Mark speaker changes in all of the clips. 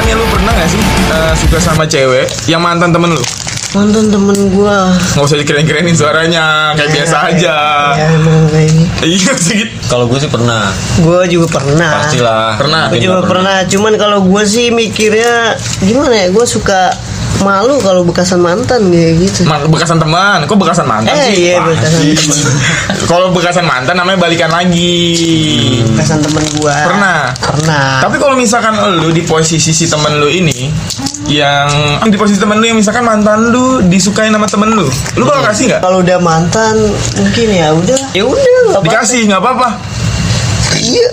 Speaker 1: nggak sih eh, suka sama cewek yang mantan temen lu?
Speaker 2: Mantan temen gua
Speaker 1: Nggak usah dikeren-kerenin suaranya, kayak
Speaker 2: Iya,
Speaker 1: biasa aja.
Speaker 2: Ya emang kayak gitu
Speaker 1: Iya segitu.
Speaker 3: Kalau gue sih pernah,
Speaker 2: Gua juga pernah
Speaker 3: pastilah.
Speaker 1: Pernah.
Speaker 2: Gua
Speaker 3: Mungkin
Speaker 2: juga
Speaker 3: nggak
Speaker 2: pernah Cuman kalau gua sih mikirnya Gimana ya Gua suka malu kalau bekasan mantan kayak gitu
Speaker 1: Man- bekasan teman, kok bekasan mantan
Speaker 2: Eh,
Speaker 1: sih?
Speaker 2: iya,
Speaker 1: Apaan
Speaker 2: bekasan
Speaker 1: sih?
Speaker 2: teman.
Speaker 1: Kalau bekasan mantan namanya balikan lagi.
Speaker 2: Bekasan temen gua
Speaker 1: Pernah.
Speaker 2: Pernah
Speaker 1: Tapi kalau misalkan lu di posisi si temen lu ini yang di posisi temen lu yang misalkan mantan lu disukain sama temen lu, lu bakal kasih nggak?
Speaker 2: kalau udah mantan mungkin ya udah ya udah nggak apa
Speaker 1: Dikasih nggak apa-apa.
Speaker 2: iya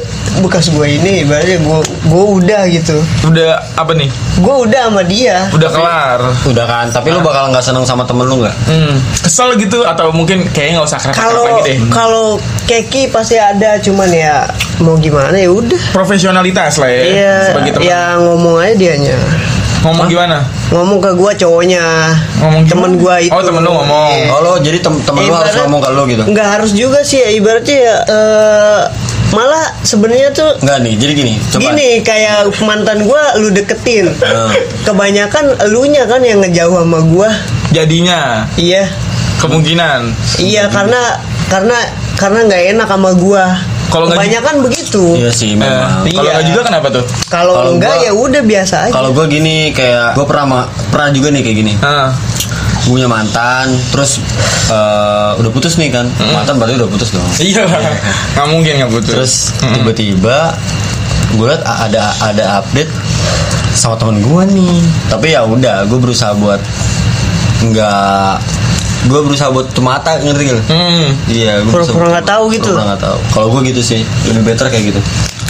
Speaker 2: bekas gue ini ibaratnya gue gue udah gitu
Speaker 1: Udah apa nih?
Speaker 2: gue udah sama dia
Speaker 1: Udah kelar.
Speaker 3: Udah kan, tapi lu bakal nggak seneng sama temen lu nggak?
Speaker 1: Hmm. Kesel gitu atau mungkin kayaknya nggak usah kerap
Speaker 2: kalau
Speaker 1: lagi deh.
Speaker 2: kalau keki pasti ada cuman ya mau gimana ya udah
Speaker 1: Profesionalitas lah ya.
Speaker 2: Iya,
Speaker 1: Sebagai teman.
Speaker 2: ya ngomong aja dianya
Speaker 1: Ngomong gimana?
Speaker 2: ngomong ke gue cowoknya
Speaker 1: Ngomong gimana?
Speaker 2: temen gue itu
Speaker 1: Oh, temen lu ngomong.
Speaker 2: Iya.
Speaker 3: Oh lo jadi tem temen lu harus
Speaker 2: Ibarat-
Speaker 3: ngomong ke lu gitu?
Speaker 2: nggak harus juga sih ya, ibaratnya ya, eh, malah sebenarnya tuh
Speaker 3: Enggak nih, jadi gini, coba.
Speaker 2: Gini kayak mantan gua lu deketin.
Speaker 3: Hmm.
Speaker 2: Kebanyakan elunya kan yang ngejauh sama gua.
Speaker 1: Jadinya
Speaker 2: Iya.
Speaker 1: kemungkinan
Speaker 2: Iya karena karena karena nggak enak sama gua.
Speaker 1: Kalau nggak
Speaker 2: kebanyakan begitu.
Speaker 3: Iya sih, memang.
Speaker 1: Eh, kalau
Speaker 2: Iya.
Speaker 1: nggak juga kenapa tuh?
Speaker 2: Kalau
Speaker 3: Kalau
Speaker 2: enggak
Speaker 3: gua-
Speaker 2: ya udah biasa aja.
Speaker 3: Kalau gue gini kayak gue pernah ma- pernah juga nih kayak gini.
Speaker 1: Heeh.
Speaker 3: Punya mantan, terus eh, udah putus nih kan? Mantan berarti udah putus dong.
Speaker 1: Iya, nggak mungkin nggak butuh.
Speaker 3: Terus
Speaker 1: Mm-mm.
Speaker 3: tiba-tiba gue liat a- ada ada update sama temen gue nih. Tapi ya udah, gue berusaha buat nggak gue berusaha buat cemata ngerti gak? lu?
Speaker 1: Hmm.
Speaker 3: Iya, gue
Speaker 2: Pura-pura
Speaker 3: bisa-
Speaker 2: nggak tahu gitu.
Speaker 3: Pura-pura nggak tahu. Kalau gue gitu sih, lebih better kayak gitu.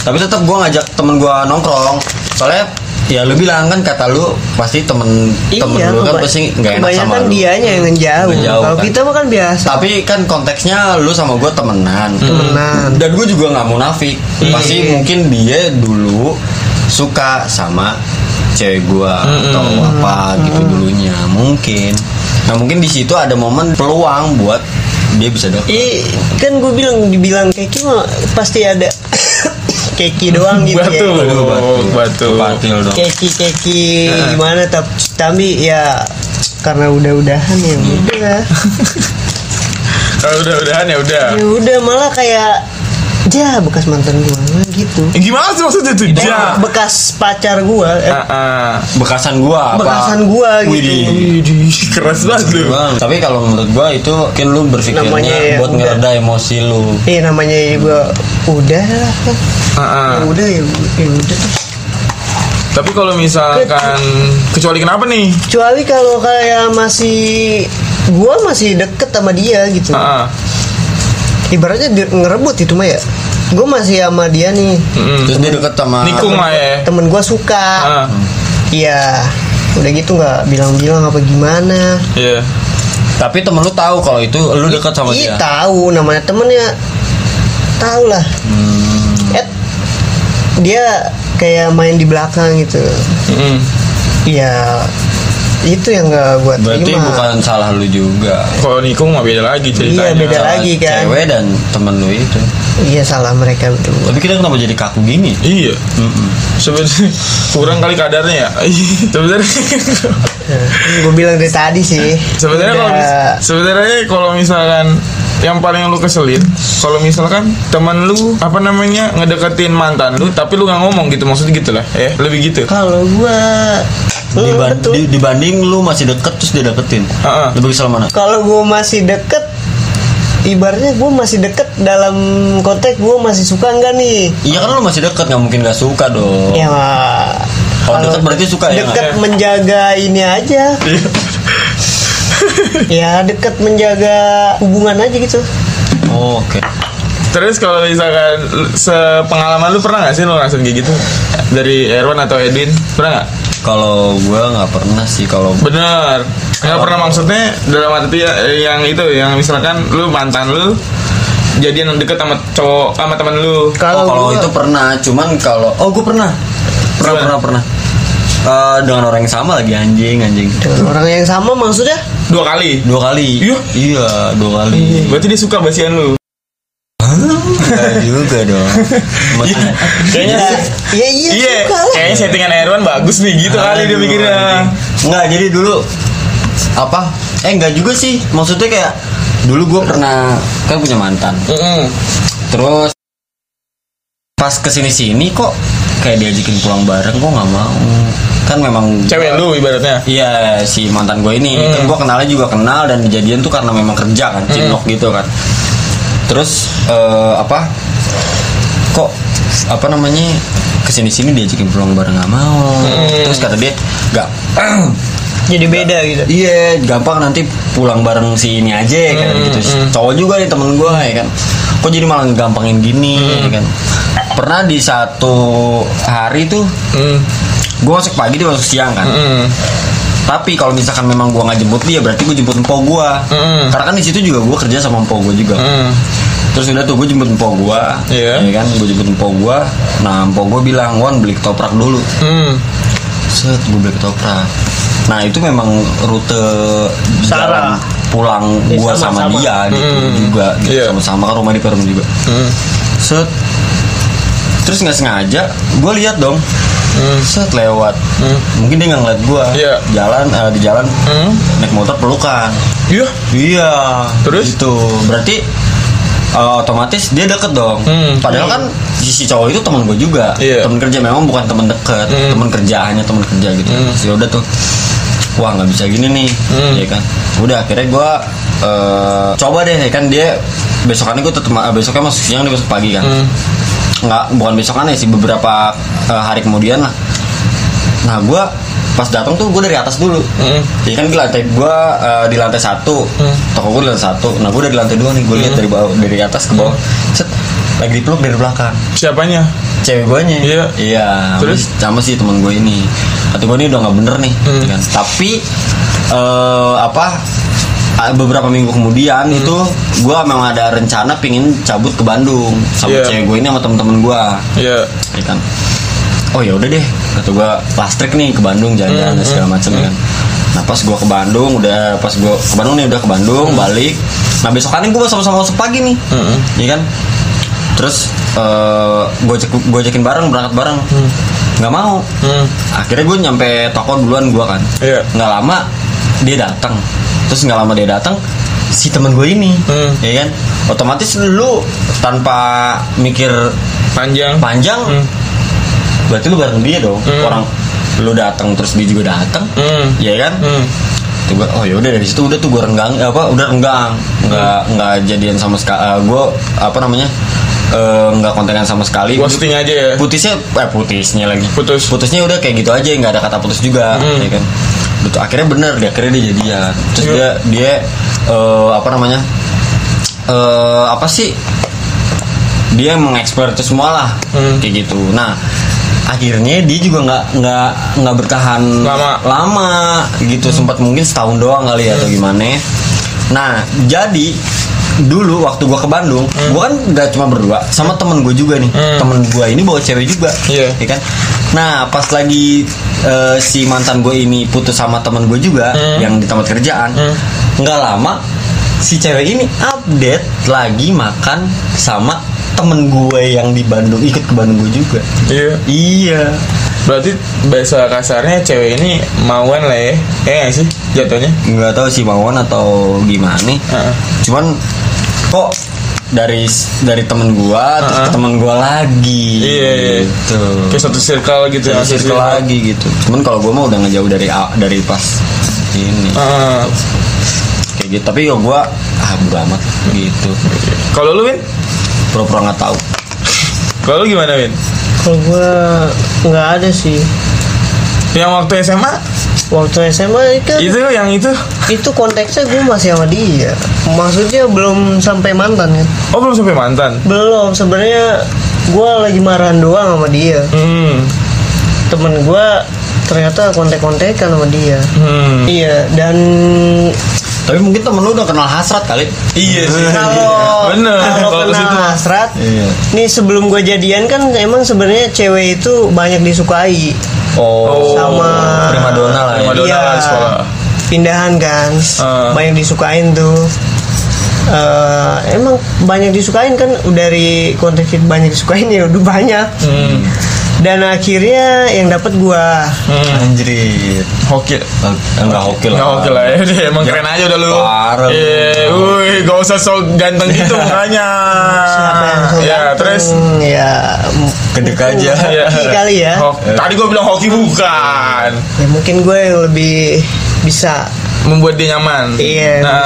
Speaker 3: Tapi tetap gue ngajak temen gue nongkrong. Soalnya ya lu bilang kan kata lu pasti temen temen lu kan
Speaker 2: Iya, keba-
Speaker 3: pasti nggak enak sama
Speaker 2: kebanyakan
Speaker 3: lu.
Speaker 2: dianya yang ngejauh.
Speaker 3: Ngejauh,
Speaker 2: Kalau
Speaker 3: kan.
Speaker 2: kita mah kan biasa.
Speaker 3: Tapi kan konteksnya lu sama gue temenan.
Speaker 1: Hmm.
Speaker 2: Temenan. Iya.
Speaker 3: Dan gue juga nggak munafik. Pasti mungkin dia dulu suka sama cewek gue
Speaker 1: Hmm.
Speaker 3: atau apa gitu dulunya mungkin. Nah mungkin di situ ada momen peluang buat dia bisa dapet.
Speaker 2: Ih, kan gue bilang dibilang keki mah pasti ada keki doang gitu ya.
Speaker 1: Batu, batu,
Speaker 3: Patil dong.
Speaker 2: keki keki
Speaker 3: Nah.
Speaker 1: Eh.
Speaker 2: gimana tapi tapi ya karena udah udahan ya
Speaker 3: Hmm.
Speaker 2: udah
Speaker 1: Kalau udah-udahan ya udah.
Speaker 2: ya udah malah kayak ja bekas mantan gua nah, gitu Eh,
Speaker 1: Eh, Gimana sih maksudnya tuh? Ja.
Speaker 2: bekas pacar gua eh,
Speaker 1: Ah, ah.
Speaker 3: Bekasan gua apa?
Speaker 2: bekasan gua gitu
Speaker 3: Widih.
Speaker 1: Idih, Keras banget lu.
Speaker 3: Bang, tapi kalau menurut gua itu mungkin lu berpikirnya
Speaker 2: Namanya ya,
Speaker 3: buat
Speaker 2: udah.
Speaker 3: ngereda emosi lu.
Speaker 1: Hmm.
Speaker 2: Eh namanya ya gua udah lah kan.
Speaker 1: Ah, ah.
Speaker 2: Ya udah ya, u- ya udah
Speaker 1: Tapi kalau misalkan kecuali kenapa nih?
Speaker 2: kecuali kalau kayak masih gua masih deket sama dia gitu
Speaker 1: Ah, ah.
Speaker 2: ibaratnya di- ngerebut itu mah ya gua masih sama dia nih
Speaker 1: Mm-mm.
Speaker 3: Terus dia deket sama
Speaker 1: Hmm. Nikung lah ya.
Speaker 2: temen gua suka
Speaker 1: Ah,
Speaker 2: Iya, udah gitu nggak bilang-bilang apa gimana?
Speaker 1: iya.
Speaker 3: Tapi temen lu tahu kalau itu lu deket sama
Speaker 2: Iya
Speaker 3: dia.
Speaker 2: tahu namanya temennya, tahu lah.
Speaker 1: Hmm.
Speaker 2: Eh, dia kayak main di belakang gitu.
Speaker 1: Mm-mm.
Speaker 2: Iya, itu yang nggak buat
Speaker 3: Berarti bukan salah lu juga.
Speaker 1: Kalau nikung mah beda lagi ceritanya.
Speaker 2: Iya, beda lagi kan.
Speaker 3: Cewek dan temen lu itu.
Speaker 2: Iya salah mereka berdua.
Speaker 3: Tapi kita kenapa jadi kaku gini?
Speaker 1: Iya. Sebenarnya kurang kali kadarnya ya. Sebenarnya
Speaker 2: gue bilang dari tadi sih.
Speaker 1: sebenarnya kalau mis-
Speaker 2: Udah-
Speaker 1: sebenarnya kalau misalkan yang paling lu keselin kalau misalkan teman lu apa namanya ngedeketin mantan lu tapi lu nggak ngomong gitu maksudnya gitu lah ya lebih gitu
Speaker 2: kalau gua Hmm,
Speaker 3: Diban-
Speaker 2: betul. Uh-uh.
Speaker 3: di- dibanding lu masih deket terus dia deketin.
Speaker 1: Heeh.
Speaker 3: Lebih kesel mana?
Speaker 2: kalau gue masih deket ibaratnya gue masih deket dalam konteks gue masih suka nggak nih
Speaker 3: Iya kan lu masih deket nggak mungkin nggak suka dong.
Speaker 2: ya
Speaker 3: Kalau deket berarti suka ya,
Speaker 2: deket
Speaker 1: nggak?
Speaker 2: menjaga ini aja
Speaker 1: Iya.
Speaker 2: ya deket menjaga hubungan aja gitu
Speaker 3: Oh, Oke.
Speaker 1: terus kalau misalkan lu- sepengalaman lu pernah nggak sih lu ngerasain kayak gitu dari Erwan atau Edwin pernah nggak
Speaker 3: Kalau gua nggak pernah sih kalau
Speaker 1: Bener Nggak pernah maksudnya dalam arti ya, eh, yang itu Yang misalkan lu mantan lu Jadian yang deket sama cowok sama temen lu
Speaker 3: Oh, kalau
Speaker 2: gua-
Speaker 3: itu pernah, cuman kalau oh gue pernah, pernah
Speaker 1: Gimana?
Speaker 3: pernah pernah Eh, dengan orang yang sama lagi anjing anjing
Speaker 2: dengan orang yang sama maksudnya
Speaker 1: Dua kali
Speaker 3: dua kali
Speaker 1: Iya?
Speaker 3: iya dua kali
Speaker 1: Berarti dia suka basian lu
Speaker 3: Enggak Iya juga dong. Maksudnya,
Speaker 1: Kayaknya
Speaker 2: Iya iya
Speaker 1: Iya,
Speaker 2: suka lah.
Speaker 1: kayaknya settingan Erwan bagus nih gitu kali dia
Speaker 3: Aduh,
Speaker 1: mikirnya.
Speaker 3: anjing. Enggak, jadi dulu apa? Eh enggak juga sih. Maksudnya kayak dulu gue pernah kan punya mantan.
Speaker 1: Mm-mm.
Speaker 3: Terus pas kesini sini kok kayak diajakin pulang bareng kok nggak mau. Kan memang
Speaker 1: Cewek ya, lu ibaratnya.
Speaker 3: Iya si mantan gue ini kan gue kenalnya juga kenal dan kejadian tuh karena memang kerja kan cinlok gitu kan terus eh, apa kok apa namanya kesini sini diajakin pulang bareng nggak mau terus kata dia nggak
Speaker 2: Jadi beda gitu.
Speaker 3: iya gampang nanti pulang bareng si ini aja kan gitu cowok juga nih temen gue ya kan kok jadi malah gampangin gini ya kan pernah di satu hari tuh
Speaker 1: Mm.
Speaker 3: gue masuk pagi dia masuk siang kan
Speaker 1: Mm.
Speaker 3: tapi kalau misalkan memang gua nggak jemput dia berarti gua jemput empo gua
Speaker 1: Mm.
Speaker 3: karena kan di situ juga gua kerja sama empo gua juga
Speaker 1: Mm.
Speaker 3: terus udah tuh gua jemput empo gua
Speaker 1: Iya.
Speaker 3: ya kan gua jemput empo gua nah empo gua bilang wan beli ketoprak dulu
Speaker 1: Mm.
Speaker 3: set gua beli ketoprak nah itu memang rute
Speaker 2: Sarah.
Speaker 3: jalan pulang
Speaker 2: Ya,
Speaker 3: gua sama,
Speaker 2: sama-sama.
Speaker 3: dia gitu
Speaker 1: Mm.
Speaker 3: juga gitu
Speaker 1: Iya.
Speaker 3: sama-sama kan rumah di Perum juga
Speaker 1: Mm.
Speaker 3: set terus nggak sengaja gua lihat dong
Speaker 1: Mm.
Speaker 3: set lewat
Speaker 1: Mm.
Speaker 3: mungkin dia nggak ngeliat gua
Speaker 1: Iya.
Speaker 3: jalan eh, di jalan
Speaker 1: Mm.
Speaker 3: naik motor pelukan
Speaker 1: Iya.
Speaker 3: iya
Speaker 1: Terus?
Speaker 3: itu berarti uh, otomatis dia deket dong
Speaker 1: Hmm.
Speaker 3: padahal kan si si cowok itu teman gue juga
Speaker 1: Iya.
Speaker 3: teman kerja memang bukan teman deket
Speaker 1: Hmm.
Speaker 3: teman kerja hanya teman kerja gitu
Speaker 1: Hmm.
Speaker 3: Terus ya udah tuh wah nggak bisa gini nih
Speaker 1: Hmm.
Speaker 3: ya kan udah akhirnya gue coba deh ya kan dia besokannya gue tetap eh, besoknya masuk siang dia besok pagi kan
Speaker 1: Mm.
Speaker 3: nggak bukan besokannya sih beberapa eh, hari kemudian lah nah gue pas datang tuh gue dari atas dulu
Speaker 1: Mm.
Speaker 3: Iya kan di lantai gua eh, di lantai satu,
Speaker 1: Hmm.
Speaker 3: toko gua di lantai satu. Nah gua udah di lantai dua nih, gua lihat dari bawah dari atas ke bawah. Cet, lagi dipeluk dari belakang.
Speaker 1: Siapanya?
Speaker 3: Cewek guanya.
Speaker 1: Iya.
Speaker 3: Iya.
Speaker 1: Terus?
Speaker 3: sama sih teman gue ini. Kata gue ini udah nggak bener nih.
Speaker 1: Hmm.
Speaker 3: ya kan? Tapi eh, apa? eh, Beberapa minggu kemudian itu gua memang ada rencana pingin cabut ke Bandung sama
Speaker 1: Iya.
Speaker 3: cewek gue ini sama temen-temen gua
Speaker 1: Iya.
Speaker 3: ya kan oh ya udah deh kata gua lastrik nih ke Bandung jalan-jalan dan
Speaker 1: Hmm.
Speaker 3: segala macam kan nah pas gua ke Bandung udah pas gua ke Bandung nih udah ke Bandung
Speaker 1: Hmm.
Speaker 3: balik nah besokannya gua sama-sama masuk pagi nih
Speaker 1: Mm.
Speaker 3: ya kan terus eh gua gue ajakin bareng berangkat bareng
Speaker 1: Hmm.
Speaker 3: nggak mau
Speaker 1: Mm.
Speaker 3: akhirnya gue nyampe toko duluan gua kan
Speaker 1: Iya.
Speaker 3: nggak lama dia datang terus nggak lama dia datang si temen gue ini
Speaker 1: Hmm.
Speaker 3: ya kan otomatis lu tanpa mikir
Speaker 1: Panjang.
Speaker 3: panjang
Speaker 1: Hmm.
Speaker 3: berarti lu bareng dia dong
Speaker 1: Hmm.
Speaker 3: orang lu datang terus dia juga datang
Speaker 1: Hmm.
Speaker 3: ya kan
Speaker 1: Mm.
Speaker 3: Tuh gua, oh yaudah dari situ udah tuh gue renggang eh, apa udah renggang nggak nggak jadian sama sekali gue apa namanya eh, nggak kontengan sama sekali
Speaker 1: Ghosting aja ya.
Speaker 3: putisnya eh putisnya lagi
Speaker 1: Putus.
Speaker 3: putusnya udah kayak gitu aja nggak ada kata putus juga
Speaker 1: Hmm.
Speaker 3: ya kan Betul, akhirnya bener dia akhirnya dia jadian terus
Speaker 1: Iya.
Speaker 3: dia dia eh, apa namanya eh apa sih dia mengekspor itu semua lah
Speaker 1: Hmm.
Speaker 3: kayak gitu nah akhirnya dia juga nggak nggak nggak bertahan
Speaker 1: Lama.
Speaker 3: lama gitu sempat mungkin setahun doang kali ya atau
Speaker 1: Iya.
Speaker 3: gimana nah jadi dulu waktu gua ke Bandung gua kan nggak cuma berdua sama temen gue juga nih
Speaker 1: Hmm.
Speaker 3: temen gua ini bawa cewek juga
Speaker 1: Iya.
Speaker 3: ya kan nah pas lagi eh, si mantan gue ini putus sama temen gue juga
Speaker 1: Hmm.
Speaker 3: yang di tempat kerjaan
Speaker 1: Hmm.
Speaker 3: nggak lama si cewek ini update lagi makan sama temen gue yang di Bandung ikut ke Bandung gue juga
Speaker 1: Iya.
Speaker 3: iya
Speaker 1: Berarti bahasa kasarnya cewek ini mauan lah ya. Eh nggak sih jatuhnya.
Speaker 3: nggak tahu si Mawon atau gimana nih
Speaker 1: Heeh.
Speaker 3: cuman kok dari dari temen gua terus ke
Speaker 1: Uh-uh.
Speaker 3: temen gua lagi
Speaker 1: Iya, iya.
Speaker 3: gitu
Speaker 1: Kayak satu circle gitu.
Speaker 3: Dari
Speaker 1: satu
Speaker 3: circle lagi gitu cuman kalau gua mah udah ngejauh dari a- dari pas ini
Speaker 1: Heeh.
Speaker 3: kayak gitu tapi ya gua ah bodo amat gitu
Speaker 1: Kalau lu Win?
Speaker 3: pura-pura nggak tahu
Speaker 1: Kalau lu gimana Win?
Speaker 2: Kalau gua nggak ada sih.
Speaker 1: Yang waktu SMA
Speaker 2: Waktu SMA kan
Speaker 3: Iya.
Speaker 1: itu yang itu.
Speaker 2: itu konteksnya gue masih sama dia. Maksudnya belum sampai mantan kan?
Speaker 1: Oh belum sampai mantan.
Speaker 2: Belum sebenarnya gua lagi marahan doang sama dia.
Speaker 1: Hmm.
Speaker 2: Temen gua ternyata kontek-kontekan sama dia.
Speaker 1: Hmm.
Speaker 2: Iya dan
Speaker 3: tapi mungkin temen lu udah kenal hasrat kali
Speaker 1: Iya sih.
Speaker 2: kalau
Speaker 1: Bener.
Speaker 2: kalau
Speaker 1: Kalau ke situ.
Speaker 2: kenal hasrat
Speaker 3: iya
Speaker 2: Nih sebelum gue jadian kan emang sebenarnya cewek itu banyak disukai
Speaker 3: oh,
Speaker 2: sama
Speaker 3: primadona lah ya
Speaker 1: Primadona.
Speaker 2: Iya.
Speaker 1: sekolah.
Speaker 2: Pindahan kan,
Speaker 1: Ah.
Speaker 2: banyak disukain tuh. eh, emang banyak disukain kan dari konten feed banyak disukain ya udah banyak
Speaker 1: Hmm.
Speaker 2: dan akhirnya yang dapat gua
Speaker 1: Hmm.
Speaker 3: Anjir.
Speaker 1: Hoki.
Speaker 3: Enggak hoki lah.
Speaker 1: Enggak hoki lah ya. Udah, Emang
Speaker 3: Ya,
Speaker 1: keren aja udah lu.
Speaker 3: parah lu.
Speaker 1: Iya, wuih, gak usah sok ganteng gitu mukanya.
Speaker 2: siapa yang suka
Speaker 1: Ya,
Speaker 2: ganteng?
Speaker 1: terus
Speaker 2: ya
Speaker 3: Kedek aja.
Speaker 1: Iya.
Speaker 2: hoki kali ya
Speaker 1: Hok- Tadi gue bilang hoki bukan
Speaker 2: Ya, mungkin gue yang lebih bisa
Speaker 1: Membuat dia nyaman
Speaker 2: iya
Speaker 1: nah,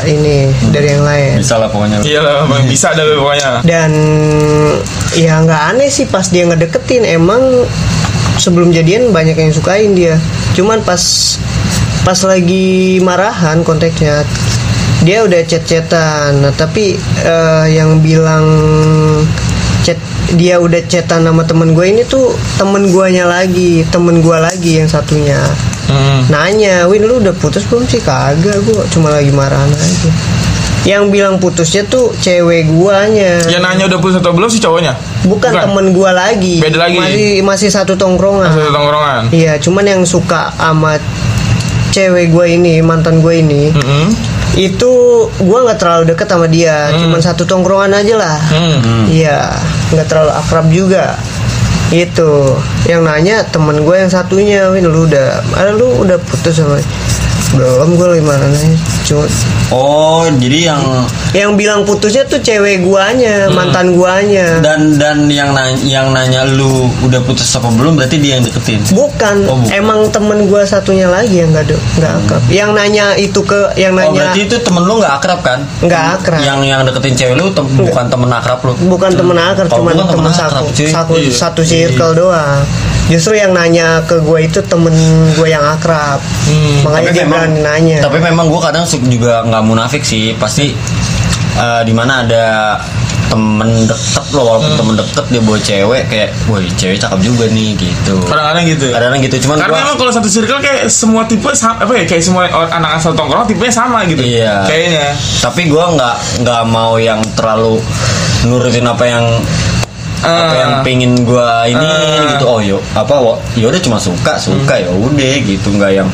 Speaker 2: bisa ini dari yang lain
Speaker 3: Bisa lah pokoknya.
Speaker 1: Iya lah Bang. bisa dah lu pokoknya
Speaker 2: dan ya nggak aneh sih pas dia ngedeketin emang sebelum jadian banyak yang sukain dia cuman pas pas lagi marahan kontaknya dia udah chat-chatan nah tapi eh, yang bilang chat dia udah chatan sama temen gue ini tuh temen guanya lagi temen gua lagi yang satunya
Speaker 1: Hmm.
Speaker 2: nanya Win lu udah putus belum sih kagak gua cuma lagi marahan aja yang bilang putusnya tuh cewek guanya
Speaker 1: Yang nanya udah putus atau belum sih cowoknya
Speaker 2: bukan, temen gua lagi
Speaker 1: Beda lagi.
Speaker 2: masih masih satu tongkrongan
Speaker 1: Satu tongkrongan
Speaker 2: iya cuman yang suka sama cewek gua ini mantan gua ini
Speaker 1: Mm-mm.
Speaker 2: itu gua nggak terlalu deket sama dia cuman satu tongkrongan aja lah
Speaker 1: Hmm.
Speaker 2: iya nggak terlalu akrab juga itu yang nanya temen gue yang satunya Win lu udah ah, lu udah putus sama belum gue gimana nih Cuma-
Speaker 3: Oh, jadi yang
Speaker 2: yang bilang putusnya tuh cewek guanya
Speaker 1: Hmm.
Speaker 2: mantan guanya
Speaker 3: dan dan yang nanya, yang nanya lu udah putus apa belum berarti dia yang deketin.
Speaker 2: Bukan,
Speaker 3: Oh, bukan. Hmm.
Speaker 2: emang temen gue satunya lagi yang nggak ada nggak akrab. Yang nanya itu ke, yang
Speaker 3: Oh,
Speaker 2: nanya
Speaker 3: berarti itu temen lu nggak akrab kan?
Speaker 2: nggak akrab.
Speaker 3: Yang yang deketin cewek lu tem- bukan temen akrab lu.
Speaker 2: Bukan temen akrab,
Speaker 3: Kalau
Speaker 2: cuma
Speaker 3: bukan temen
Speaker 2: temen
Speaker 3: akrab,
Speaker 2: satu,
Speaker 3: cuy.
Speaker 2: satu,
Speaker 1: Iya.
Speaker 2: satu circle doang. Justru yang nanya ke gue itu temen gue yang akrab, makanya Nah, dia berani nanya.
Speaker 3: Hmm. tapi memang gue kadang suka juga nggak munafik sih pasti eh, di mana ada temen deket loh walaupun temen deket dia bawa cewek kayak woi cewek cakep juga nih gitu
Speaker 1: Kadang-kadang gitu
Speaker 3: kadang gitu cuman
Speaker 1: Karena
Speaker 3: gua-
Speaker 1: emang kalau satu circle kayak semua tipe sama, apa ya kayak semua or- anak asal tongkrong tipenya sama gitu.
Speaker 3: Iya.
Speaker 1: Kayaknya.
Speaker 3: tapi gue nggak nggak mau yang terlalu nurutin apa yang apa
Speaker 1: Ah.
Speaker 3: yang pingin gue ini
Speaker 1: Ah. Hmm.
Speaker 3: gitu oh yo apa wo- ya udah cuma suka suka ya udah gitu nggak yang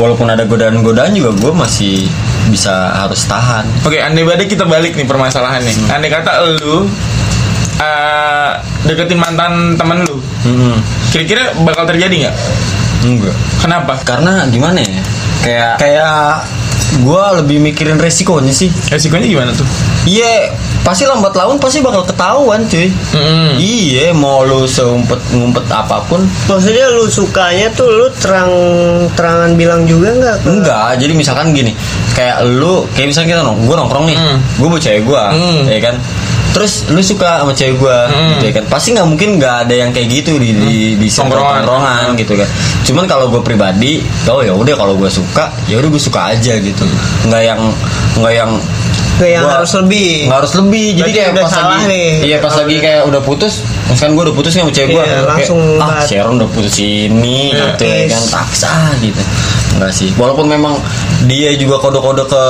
Speaker 3: walaupun ada godaan-godaan juga gue masih bisa harus tahan
Speaker 1: Oke, andai badai kita balik nih permasalahan nih.
Speaker 3: Hmm.
Speaker 1: Andai kata lu eh, deketin mantan temen lu,
Speaker 3: Mm-mm.
Speaker 1: kira-kira bakal terjadi nggak?
Speaker 3: enggak
Speaker 1: Kenapa?
Speaker 3: karena gimana ya kayak kayak gue lebih mikirin resikonya sih
Speaker 1: Resikonya gimana tuh?
Speaker 3: iya pasti lambat laun pasti bakal ketahuan cuy
Speaker 1: Mm-mm.
Speaker 3: iya mau lu seumpet ngumpet apapun
Speaker 2: Maksudnya lu sukanya tuh lu terang terangan bilang juga nggak? ke-
Speaker 3: enggak jadi misalkan gini kayak lu kayak misalkan kita nong gue nongkrong nih
Speaker 1: Hmm.
Speaker 3: gue bawa cewek gue
Speaker 1: Hmm.
Speaker 3: ya kan terus lu suka sama cewek gue
Speaker 1: Hmm.
Speaker 3: gitu ya kan pasti nggak mungkin nggak ada yang kayak gitu di di, di satu
Speaker 1: Tongkrongan.
Speaker 3: tongkrongan
Speaker 1: Hmm.
Speaker 3: gitu kan cuman kalau gue pribadi oh ya udah kalau gue suka ya udah gue suka aja gitu nggak yang nggak yang
Speaker 2: Nggak yang
Speaker 3: gua-
Speaker 2: harus lebih.
Speaker 3: nggak harus lebih jadi
Speaker 2: Berarti
Speaker 3: kayak
Speaker 2: udah
Speaker 3: pas
Speaker 2: salah
Speaker 3: lagi
Speaker 2: nih.
Speaker 3: iya pas lagi kayak udah putus misalkan gue udah putus nih sama cewek gue
Speaker 2: Iya, langsung
Speaker 3: ah
Speaker 2: bat.
Speaker 3: Sharon udah putus ini
Speaker 1: Iya.
Speaker 3: gitu ya kan
Speaker 2: Is.
Speaker 3: paksa gitu enggak sih walaupun memang dia juga kode-kode ke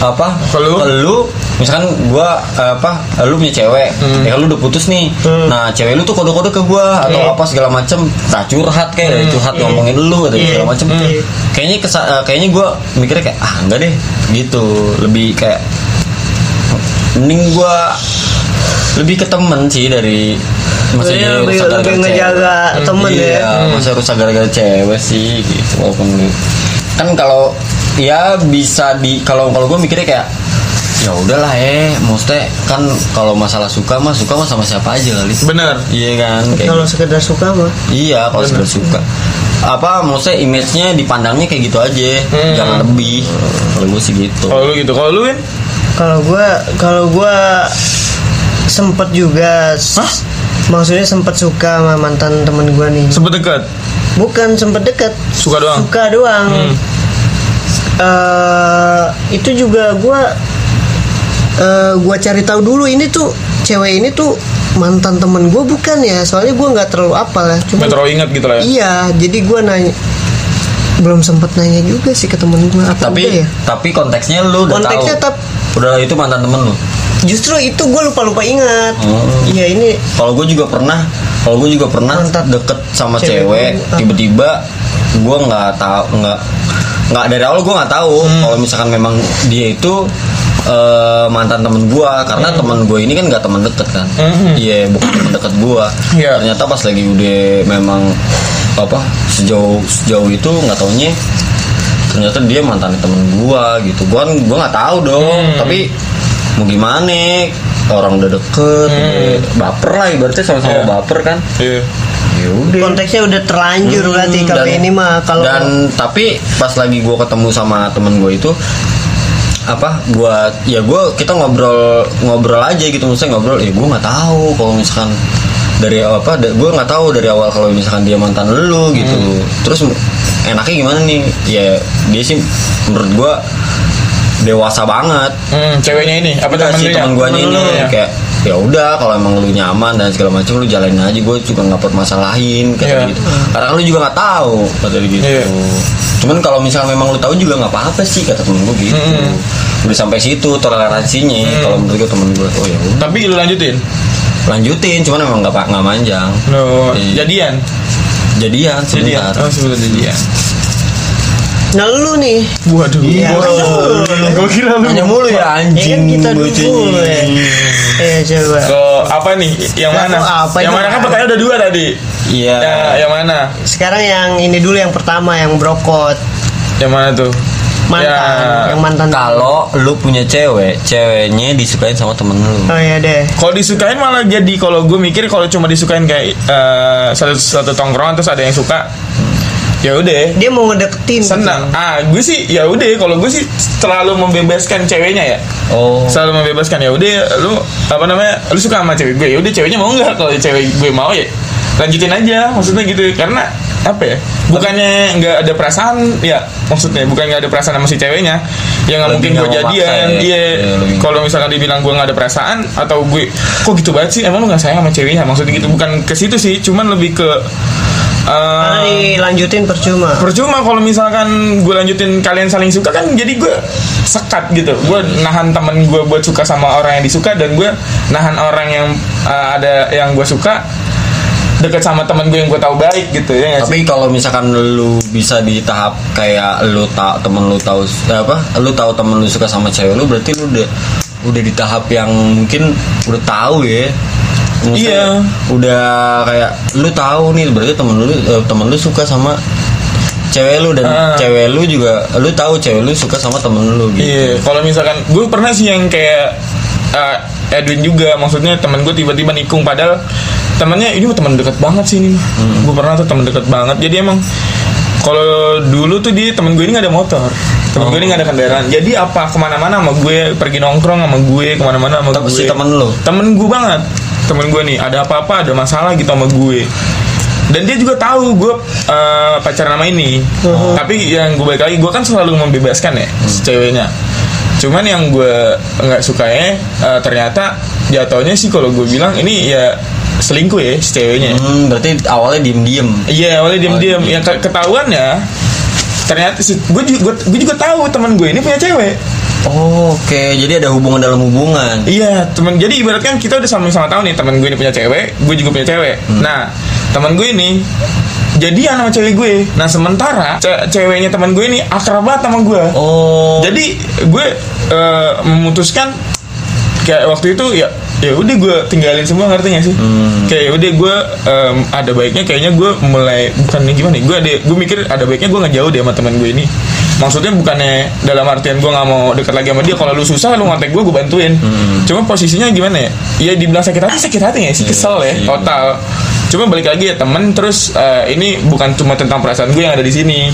Speaker 3: apa
Speaker 1: Ke lu?
Speaker 3: misalkan gua apa lu punya cewek
Speaker 2: Hmm.
Speaker 3: ya lu udah putus nih nah cewek lu tuh kode-kode ke gua atau
Speaker 2: Iya. Hmm.
Speaker 3: apa segala macem tak curhat kayak curhat ngomongin lu atau
Speaker 2: Iya.
Speaker 3: segala macem
Speaker 2: Iya.
Speaker 3: kayaknya kesa- eh, kayaknya gua mikirnya kayak ah enggak deh gitu lebih kayak mending gua lebih ke temen sih dari
Speaker 2: Iya,
Speaker 3: maksudnya
Speaker 2: lebih- lebih ngejaga temen ya.
Speaker 3: iya, masa rusak gara-gara cewek sih gitu walaupun lu- kan kalau ya bisa di kalau kalau gue mikirnya kayak ya udahlah eh maksudnya kan kalau masalah suka mah suka mah sama siapa aja kali
Speaker 1: Bener.
Speaker 3: iya kan kayak
Speaker 2: Kalau sekedar suka mah.
Speaker 3: iya kalau sudah suka apa maksudnya image-nya dipandangnya kayak gitu aja
Speaker 1: Hmm.
Speaker 3: jangan lebih kalau gue sih gitu
Speaker 1: Kalau lu gitu, kalau lu Win?
Speaker 2: Kalau gua kalau gua sempet juga s- maksudnya sempet suka sama mantan temen gua nih.
Speaker 1: sempet dekat.
Speaker 2: Bukan sempet deket.
Speaker 1: Suka doang?
Speaker 2: Suka doang.
Speaker 1: Hmm.
Speaker 2: Eh, itu juga gua eh, gua cari tahu dulu ini tuh cewek ini tuh mantan temen gua bukan ya. Soalnya gua nggak terlalu apal ya. Cuma
Speaker 1: Nggak terlalu ingat gitu lah ya.
Speaker 2: iya, jadi gua nanya belum sempet nanya juga sih ke temen gua apa
Speaker 3: tapi
Speaker 2: udah ya.
Speaker 3: tapi konteksnya lu udah
Speaker 2: Konteksnya
Speaker 3: tahu
Speaker 2: tap-
Speaker 3: udah itu mantan temen lu
Speaker 2: Justru itu gua lupa lupa ingat.
Speaker 1: Oh.
Speaker 3: Hmm.
Speaker 2: Iya ini
Speaker 3: kalau gue juga pernah kalau gue juga pernah
Speaker 2: Mantap.
Speaker 3: deket sama
Speaker 2: Cewek
Speaker 3: cewek
Speaker 2: dulu, ah.
Speaker 3: tiba-tiba gue nggak tahu nggak nggak dari awal gue nggak tahu kalau misalkan memang dia itu eh, mantan temen gue karena temen gue ini kan nggak temen deket kan
Speaker 1: Hmm.
Speaker 3: iya bukan temen deket gue
Speaker 1: Iya.
Speaker 3: ternyata pas lagi udah memang apa sejauh sejauh itu nggak taunya ternyata dia mantan temen gue gitu gue gue nggak tahu dong
Speaker 1: Hmm.
Speaker 3: tapi mau gimana orang udah deket udah baper lah ibaratnya sama-sama
Speaker 1: Hmm. Iya.
Speaker 3: baper kan
Speaker 1: Iya.
Speaker 3: ya udah
Speaker 2: konteksnya udah terlanjur berarti
Speaker 3: Hmm,
Speaker 2: kalau
Speaker 3: dan-
Speaker 2: ini mah kalau
Speaker 3: dan tapi pas lagi gue ketemu sama temen gue itu apa buat ya gue kita ngobrol ngobrol aja gitu maksudnya ngobrol ya gue nggak tahu kalau misalkan dari apa gue nggak tahu dari awal kalau misalkan dia mantan lu gitu
Speaker 2: Hmm.
Speaker 3: terus enaknya gimana nih ya dia sih menurut gue dewasa banget
Speaker 1: Hmm, ceweknya ini apa
Speaker 3: Udah
Speaker 1: temen
Speaker 3: sih
Speaker 1: lu ya?
Speaker 3: teman gue
Speaker 1: Temen
Speaker 3: ini
Speaker 1: lu ya?
Speaker 3: kayak ya udah kalau emang lu nyaman dan segala macam lu jalanin aja gue juga nggak permasalahin kayak
Speaker 1: Iya.
Speaker 3: gitu karena kan lu juga nggak tahu kata dia gitu
Speaker 1: Iya.
Speaker 3: cuman kalau misalnya memang lu tahu juga nggak apa-apa sih kata temen gue gitu udah sampai situ toleransinya kalau menurut gue temen gue oh ya udah.
Speaker 1: Tapi lu lanjutin.
Speaker 3: lanjutin cuman emang nggak pa- nggak manjang
Speaker 1: Lo
Speaker 3: Iya.
Speaker 1: jadian.
Speaker 3: jadian
Speaker 1: Jadian.
Speaker 3: sebentar
Speaker 1: Oh, sebelum jadian.
Speaker 2: nah lu nih
Speaker 1: Waduh.
Speaker 3: Iya.
Speaker 1: Waduh. Gua kira lu. Iya,
Speaker 3: Nanya mulu ya
Speaker 2: ya kan
Speaker 3: anjing Iya.
Speaker 2: kita dulu
Speaker 3: bocahnya.
Speaker 2: ya ya coba
Speaker 1: Ke apa nih? Yang
Speaker 2: Nah,
Speaker 1: mana?
Speaker 2: apa
Speaker 1: yang
Speaker 2: itu?
Speaker 1: mana kan pertanyaan udah dua tadi.
Speaker 3: Iya.
Speaker 1: Ya, yang mana?
Speaker 2: sekarang yang ini dulu yang pertama yang brokot
Speaker 1: Yang mana tuh?
Speaker 2: mantan
Speaker 1: Ya.
Speaker 2: yang mantan
Speaker 3: Kalau lu punya cewek, ceweknya disukain sama temen lu.
Speaker 2: oh ya deh
Speaker 1: Kalau disukain malah jadi kalau gue mikir kalau cuma disukain kayak eh, satu satu tongkrongan terus ada yang suka, ya udah.
Speaker 2: dia mau ngedeketin
Speaker 1: Senang.
Speaker 3: Iya.
Speaker 1: Ah, gue sih ya udah. Kalau gue sih terlalu membebaskan ceweknya ya.
Speaker 3: Oh.
Speaker 1: Selalu membebaskan ya udah. Lu apa namanya? Lu suka sama cewek gue ya udah. Ceweknya mau nggak? Kalau cewek gue mau ya lanjutin aja. Maksudnya gitu karena apa ya? Bukannya nggak ada perasaan ya? Maksudnya bukan nggak ada perasaan sama si ceweknya. Ya nggak mungkin
Speaker 3: Lebih
Speaker 1: gue
Speaker 3: nggak memaksa
Speaker 1: jadian.
Speaker 3: ya.
Speaker 1: Iya.
Speaker 3: Iya, lebih
Speaker 1: Kalau misalkan dibilang gue nggak ada perasaan atau gue kok gitu banget sih? Emang lu nggak sayang sama ceweknya? Maksudnya gitu bukan ke situ sih. Cuman lebih ke eh,
Speaker 3: Ah,
Speaker 2: karena dilanjutin Ah, percuma
Speaker 1: percuma kalau misalkan gue lanjutin kalian saling suka kan jadi gue sekat gitu gue nahan temen gue buat suka sama orang yang disuka dan gue nahan orang yang uh, ada yang gue suka deket sama temen gue yang gue tahu baik gitu ya nggak sih?
Speaker 3: Tapi kalau misalkan lu bisa di tahap kayak lu tak temen lu tahu eh, apa? Lu tahu temen lu suka sama cewek lu berarti lu udah udah di tahap yang mungkin udah tahu ya. Maksudnya
Speaker 1: Iya.
Speaker 3: Udah kayak lu tahu nih berarti temen lu eh, temen lu suka sama cewek lu dan
Speaker 1: Ah.
Speaker 3: cewek lu juga lu tahu cewek lu suka sama temen lu gitu.
Speaker 1: Iya, kalau misalkan gue pernah sih yang kayak uh, Edwin juga, maksudnya temen gue tiba-tiba nikung padahal temennya ini mah teman dekat banget sih ini. mah.
Speaker 3: Hmm.
Speaker 1: Gue pernah tuh teman dekat banget. Jadi emang kalau dulu tuh dia temen gue ini gak ada motor, temen gue ini gak ada kendaraan.
Speaker 3: Oh.
Speaker 1: Jadi apa kemana-mana sama gue, pergi nongkrong sama gue, kemana-mana sama
Speaker 3: Tapi
Speaker 1: gue.
Speaker 3: si temen lu?
Speaker 1: Temen gue banget, temen gue nih. Ada apa-apa, ada masalah gitu sama gue. Dan dia juga tahu gue uh, pacaran sama ini.
Speaker 3: Uh-huh.
Speaker 1: Tapi yang gue balik lagi, gue kan selalu membebaskan ya
Speaker 3: Hmm.
Speaker 1: si ceweknya cuman yang gue nggak sukanya eh, ternyata jatuhnya sih kalau gue bilang ini ya selingkuh ya si ceweknya
Speaker 3: Hmm, berarti awalnya diem-diem.
Speaker 1: iya awalnya diam-diam
Speaker 3: Oh, iya.
Speaker 1: yang ke- ketahuan ya ternyata gue juga gue juga tahu teman gue ini punya cewek
Speaker 3: Oh, Oke, jadi ada hubungan dalam hubungan.
Speaker 1: iya teman jadi ibaratkan kita udah sama-sama tahu nih teman gue ini punya cewek gue juga punya cewek nah teman gue ini jadian sama cewek gue nah sementara ce- ceweknya teman gue ini akrab banget sama gue
Speaker 3: Oh.
Speaker 1: jadi gue eh, memutuskan kayak waktu itu ya ya udah gue tinggalin semua ngerti gak sih kayak ya udah gue em, ada baiknya kayaknya gue mulai bukannya gimana ya, gue ada gue mikir ada baiknya gue ngejauh deh sama teman gue ini maksudnya bukannya dalam artian gue nggak mau dekat lagi sama dia kalau lu susah lu ngontek gue gue bantuin cuma posisinya gimana ya ya dibilang sakit hati sakit hati gak sih kesel ya
Speaker 3: sih.
Speaker 1: total cuma balik lagi ya temen terus eh, ini bukan cuma tentang perasaan gue yang ada di sini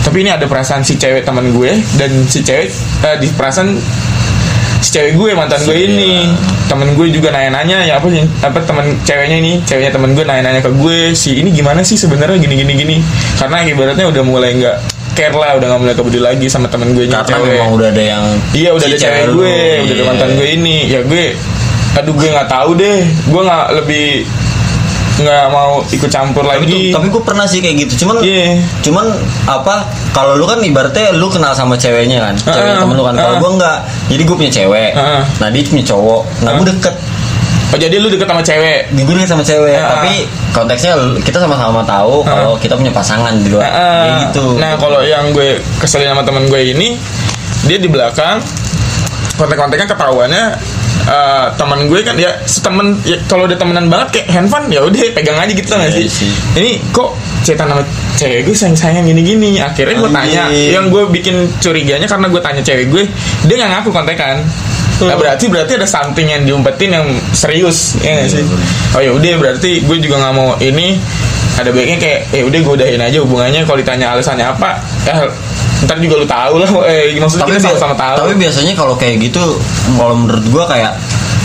Speaker 1: tapi ini ada perasaan si cewek teman gue dan si cewek eh, di perasaan si cewek gue mantan gue ini
Speaker 3: Iya.
Speaker 1: temen gue juga nanya-nanya ya apa sih apa temen ceweknya ini ceweknya temen gue nanya-nanya ke gue si ini gimana sih sebenarnya gini gini gini karena ibaratnya udah mulai nggak care lah udah nggak mulai kebudi lagi sama temen gue ini
Speaker 3: karena
Speaker 1: cewek.
Speaker 3: memang udah ada yang
Speaker 1: Iya udah
Speaker 3: si
Speaker 1: ada cewek
Speaker 3: lu.
Speaker 1: gue, udah ada
Speaker 3: Iya.
Speaker 1: mantan gue ini. Ya gue, aduh gue nggak tahu deh. Gue nggak lebih nggak mau ikut campur
Speaker 3: Tapi, tuh-
Speaker 1: lagi.
Speaker 3: tapi gue pernah sih kayak gitu. Cuman
Speaker 1: Iya.
Speaker 3: cuman apa kalau lu kan ibaratnya lu kenal sama ceweknya kan, cewek
Speaker 1: Heeh.
Speaker 3: temen lu kan. Kalau
Speaker 1: Heeh. Ah.
Speaker 3: gue enggak. Jadi gue punya cewek.
Speaker 1: Heeh. Ah.
Speaker 3: Nah, dia punya cowok. Nah, gue deket.
Speaker 1: Oh, jadi lu deket sama cewek.
Speaker 3: digugat sama cewek
Speaker 1: Ah.
Speaker 3: tapi konteksnya l- kita sama-sama tahu kalau kita punya pasangan di luar
Speaker 1: Nah,
Speaker 3: kayak gitu
Speaker 1: Nah, kalau yang gue keselin sama temen gue ini, dia di belakang kontek-konteknya ketahuannya eh, teman gue kan ya setemen ya, kalau udah temenan banget kayak handphone ya udah pegang aja gitu nggak
Speaker 3: Iya
Speaker 1: sih?
Speaker 3: sih.
Speaker 1: Ini kok cetan sama cewek gue sayang sayang gini gini akhirnya gue Kan tanya
Speaker 3: Anjing.
Speaker 1: yang gue bikin curiganya karena gue tanya cewek gue dia nggak ngaku kontekan Nah, berarti berarti ada something yang diumpetin yang serius ya nggak sih? Oh ya udah berarti gue juga nggak mau ini ada baiknya kayak ya udah gue udahin aja hubungannya kalau ditanya alasannya apa ya ntar juga lu tahu lah eh maksudnya
Speaker 3: tapi
Speaker 1: kita
Speaker 3: bi-
Speaker 1: sama-sama tahu
Speaker 3: tapi biasanya kalau kayak gitu kalau menurut gua kayak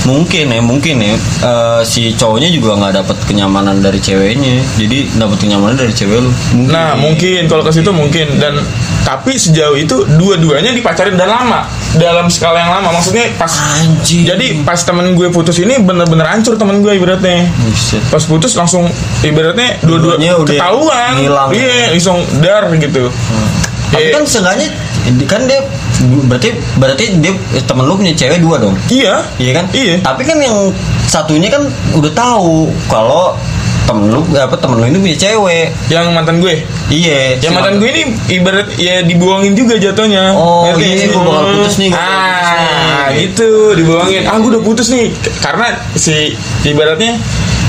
Speaker 3: mungkin ya mungkin ya eh, si cowoknya juga nggak dapat kenyamanan dari ceweknya jadi dapat kenyamanan dari cewek lu mungkin
Speaker 1: Nah mungkin kalau ke situ mungkin dan tapi sejauh itu dua-duanya dipacarin udah lama dalam skala yang lama maksudnya pas
Speaker 3: Anjing.
Speaker 1: jadi pas temen gue putus ini bener-bener hancur temen gue ibaratnya
Speaker 3: Buset.
Speaker 1: pas putus langsung ibaratnya
Speaker 3: Dua-duanya
Speaker 1: dua-dua
Speaker 3: udah
Speaker 1: ketahuan
Speaker 3: hilang.
Speaker 1: iya langsung dar gitu
Speaker 3: tapi
Speaker 1: Eh,
Speaker 3: kan seenggaknya kan dia berarti berarti dia eh, temen lu punya cewek dua dong
Speaker 1: iya
Speaker 3: Iya kan?
Speaker 1: iya
Speaker 3: Tapi kan yang satunya kan udah tahu kalau temen lu apa temen lu ini punya cewek.
Speaker 1: yang mantan gue
Speaker 3: Iya.
Speaker 1: yang
Speaker 3: si
Speaker 1: mantan gue ini ibarat ya dibuangin juga jatuhnya
Speaker 3: Oh,
Speaker 1: Ngerti
Speaker 3: iya,
Speaker 1: nggak sih?
Speaker 3: gue bakal putus nih, gue bakal putus
Speaker 1: ah
Speaker 3: nih.
Speaker 1: gitu dibuangin ah gue udah putus nih K- karena si ibaratnya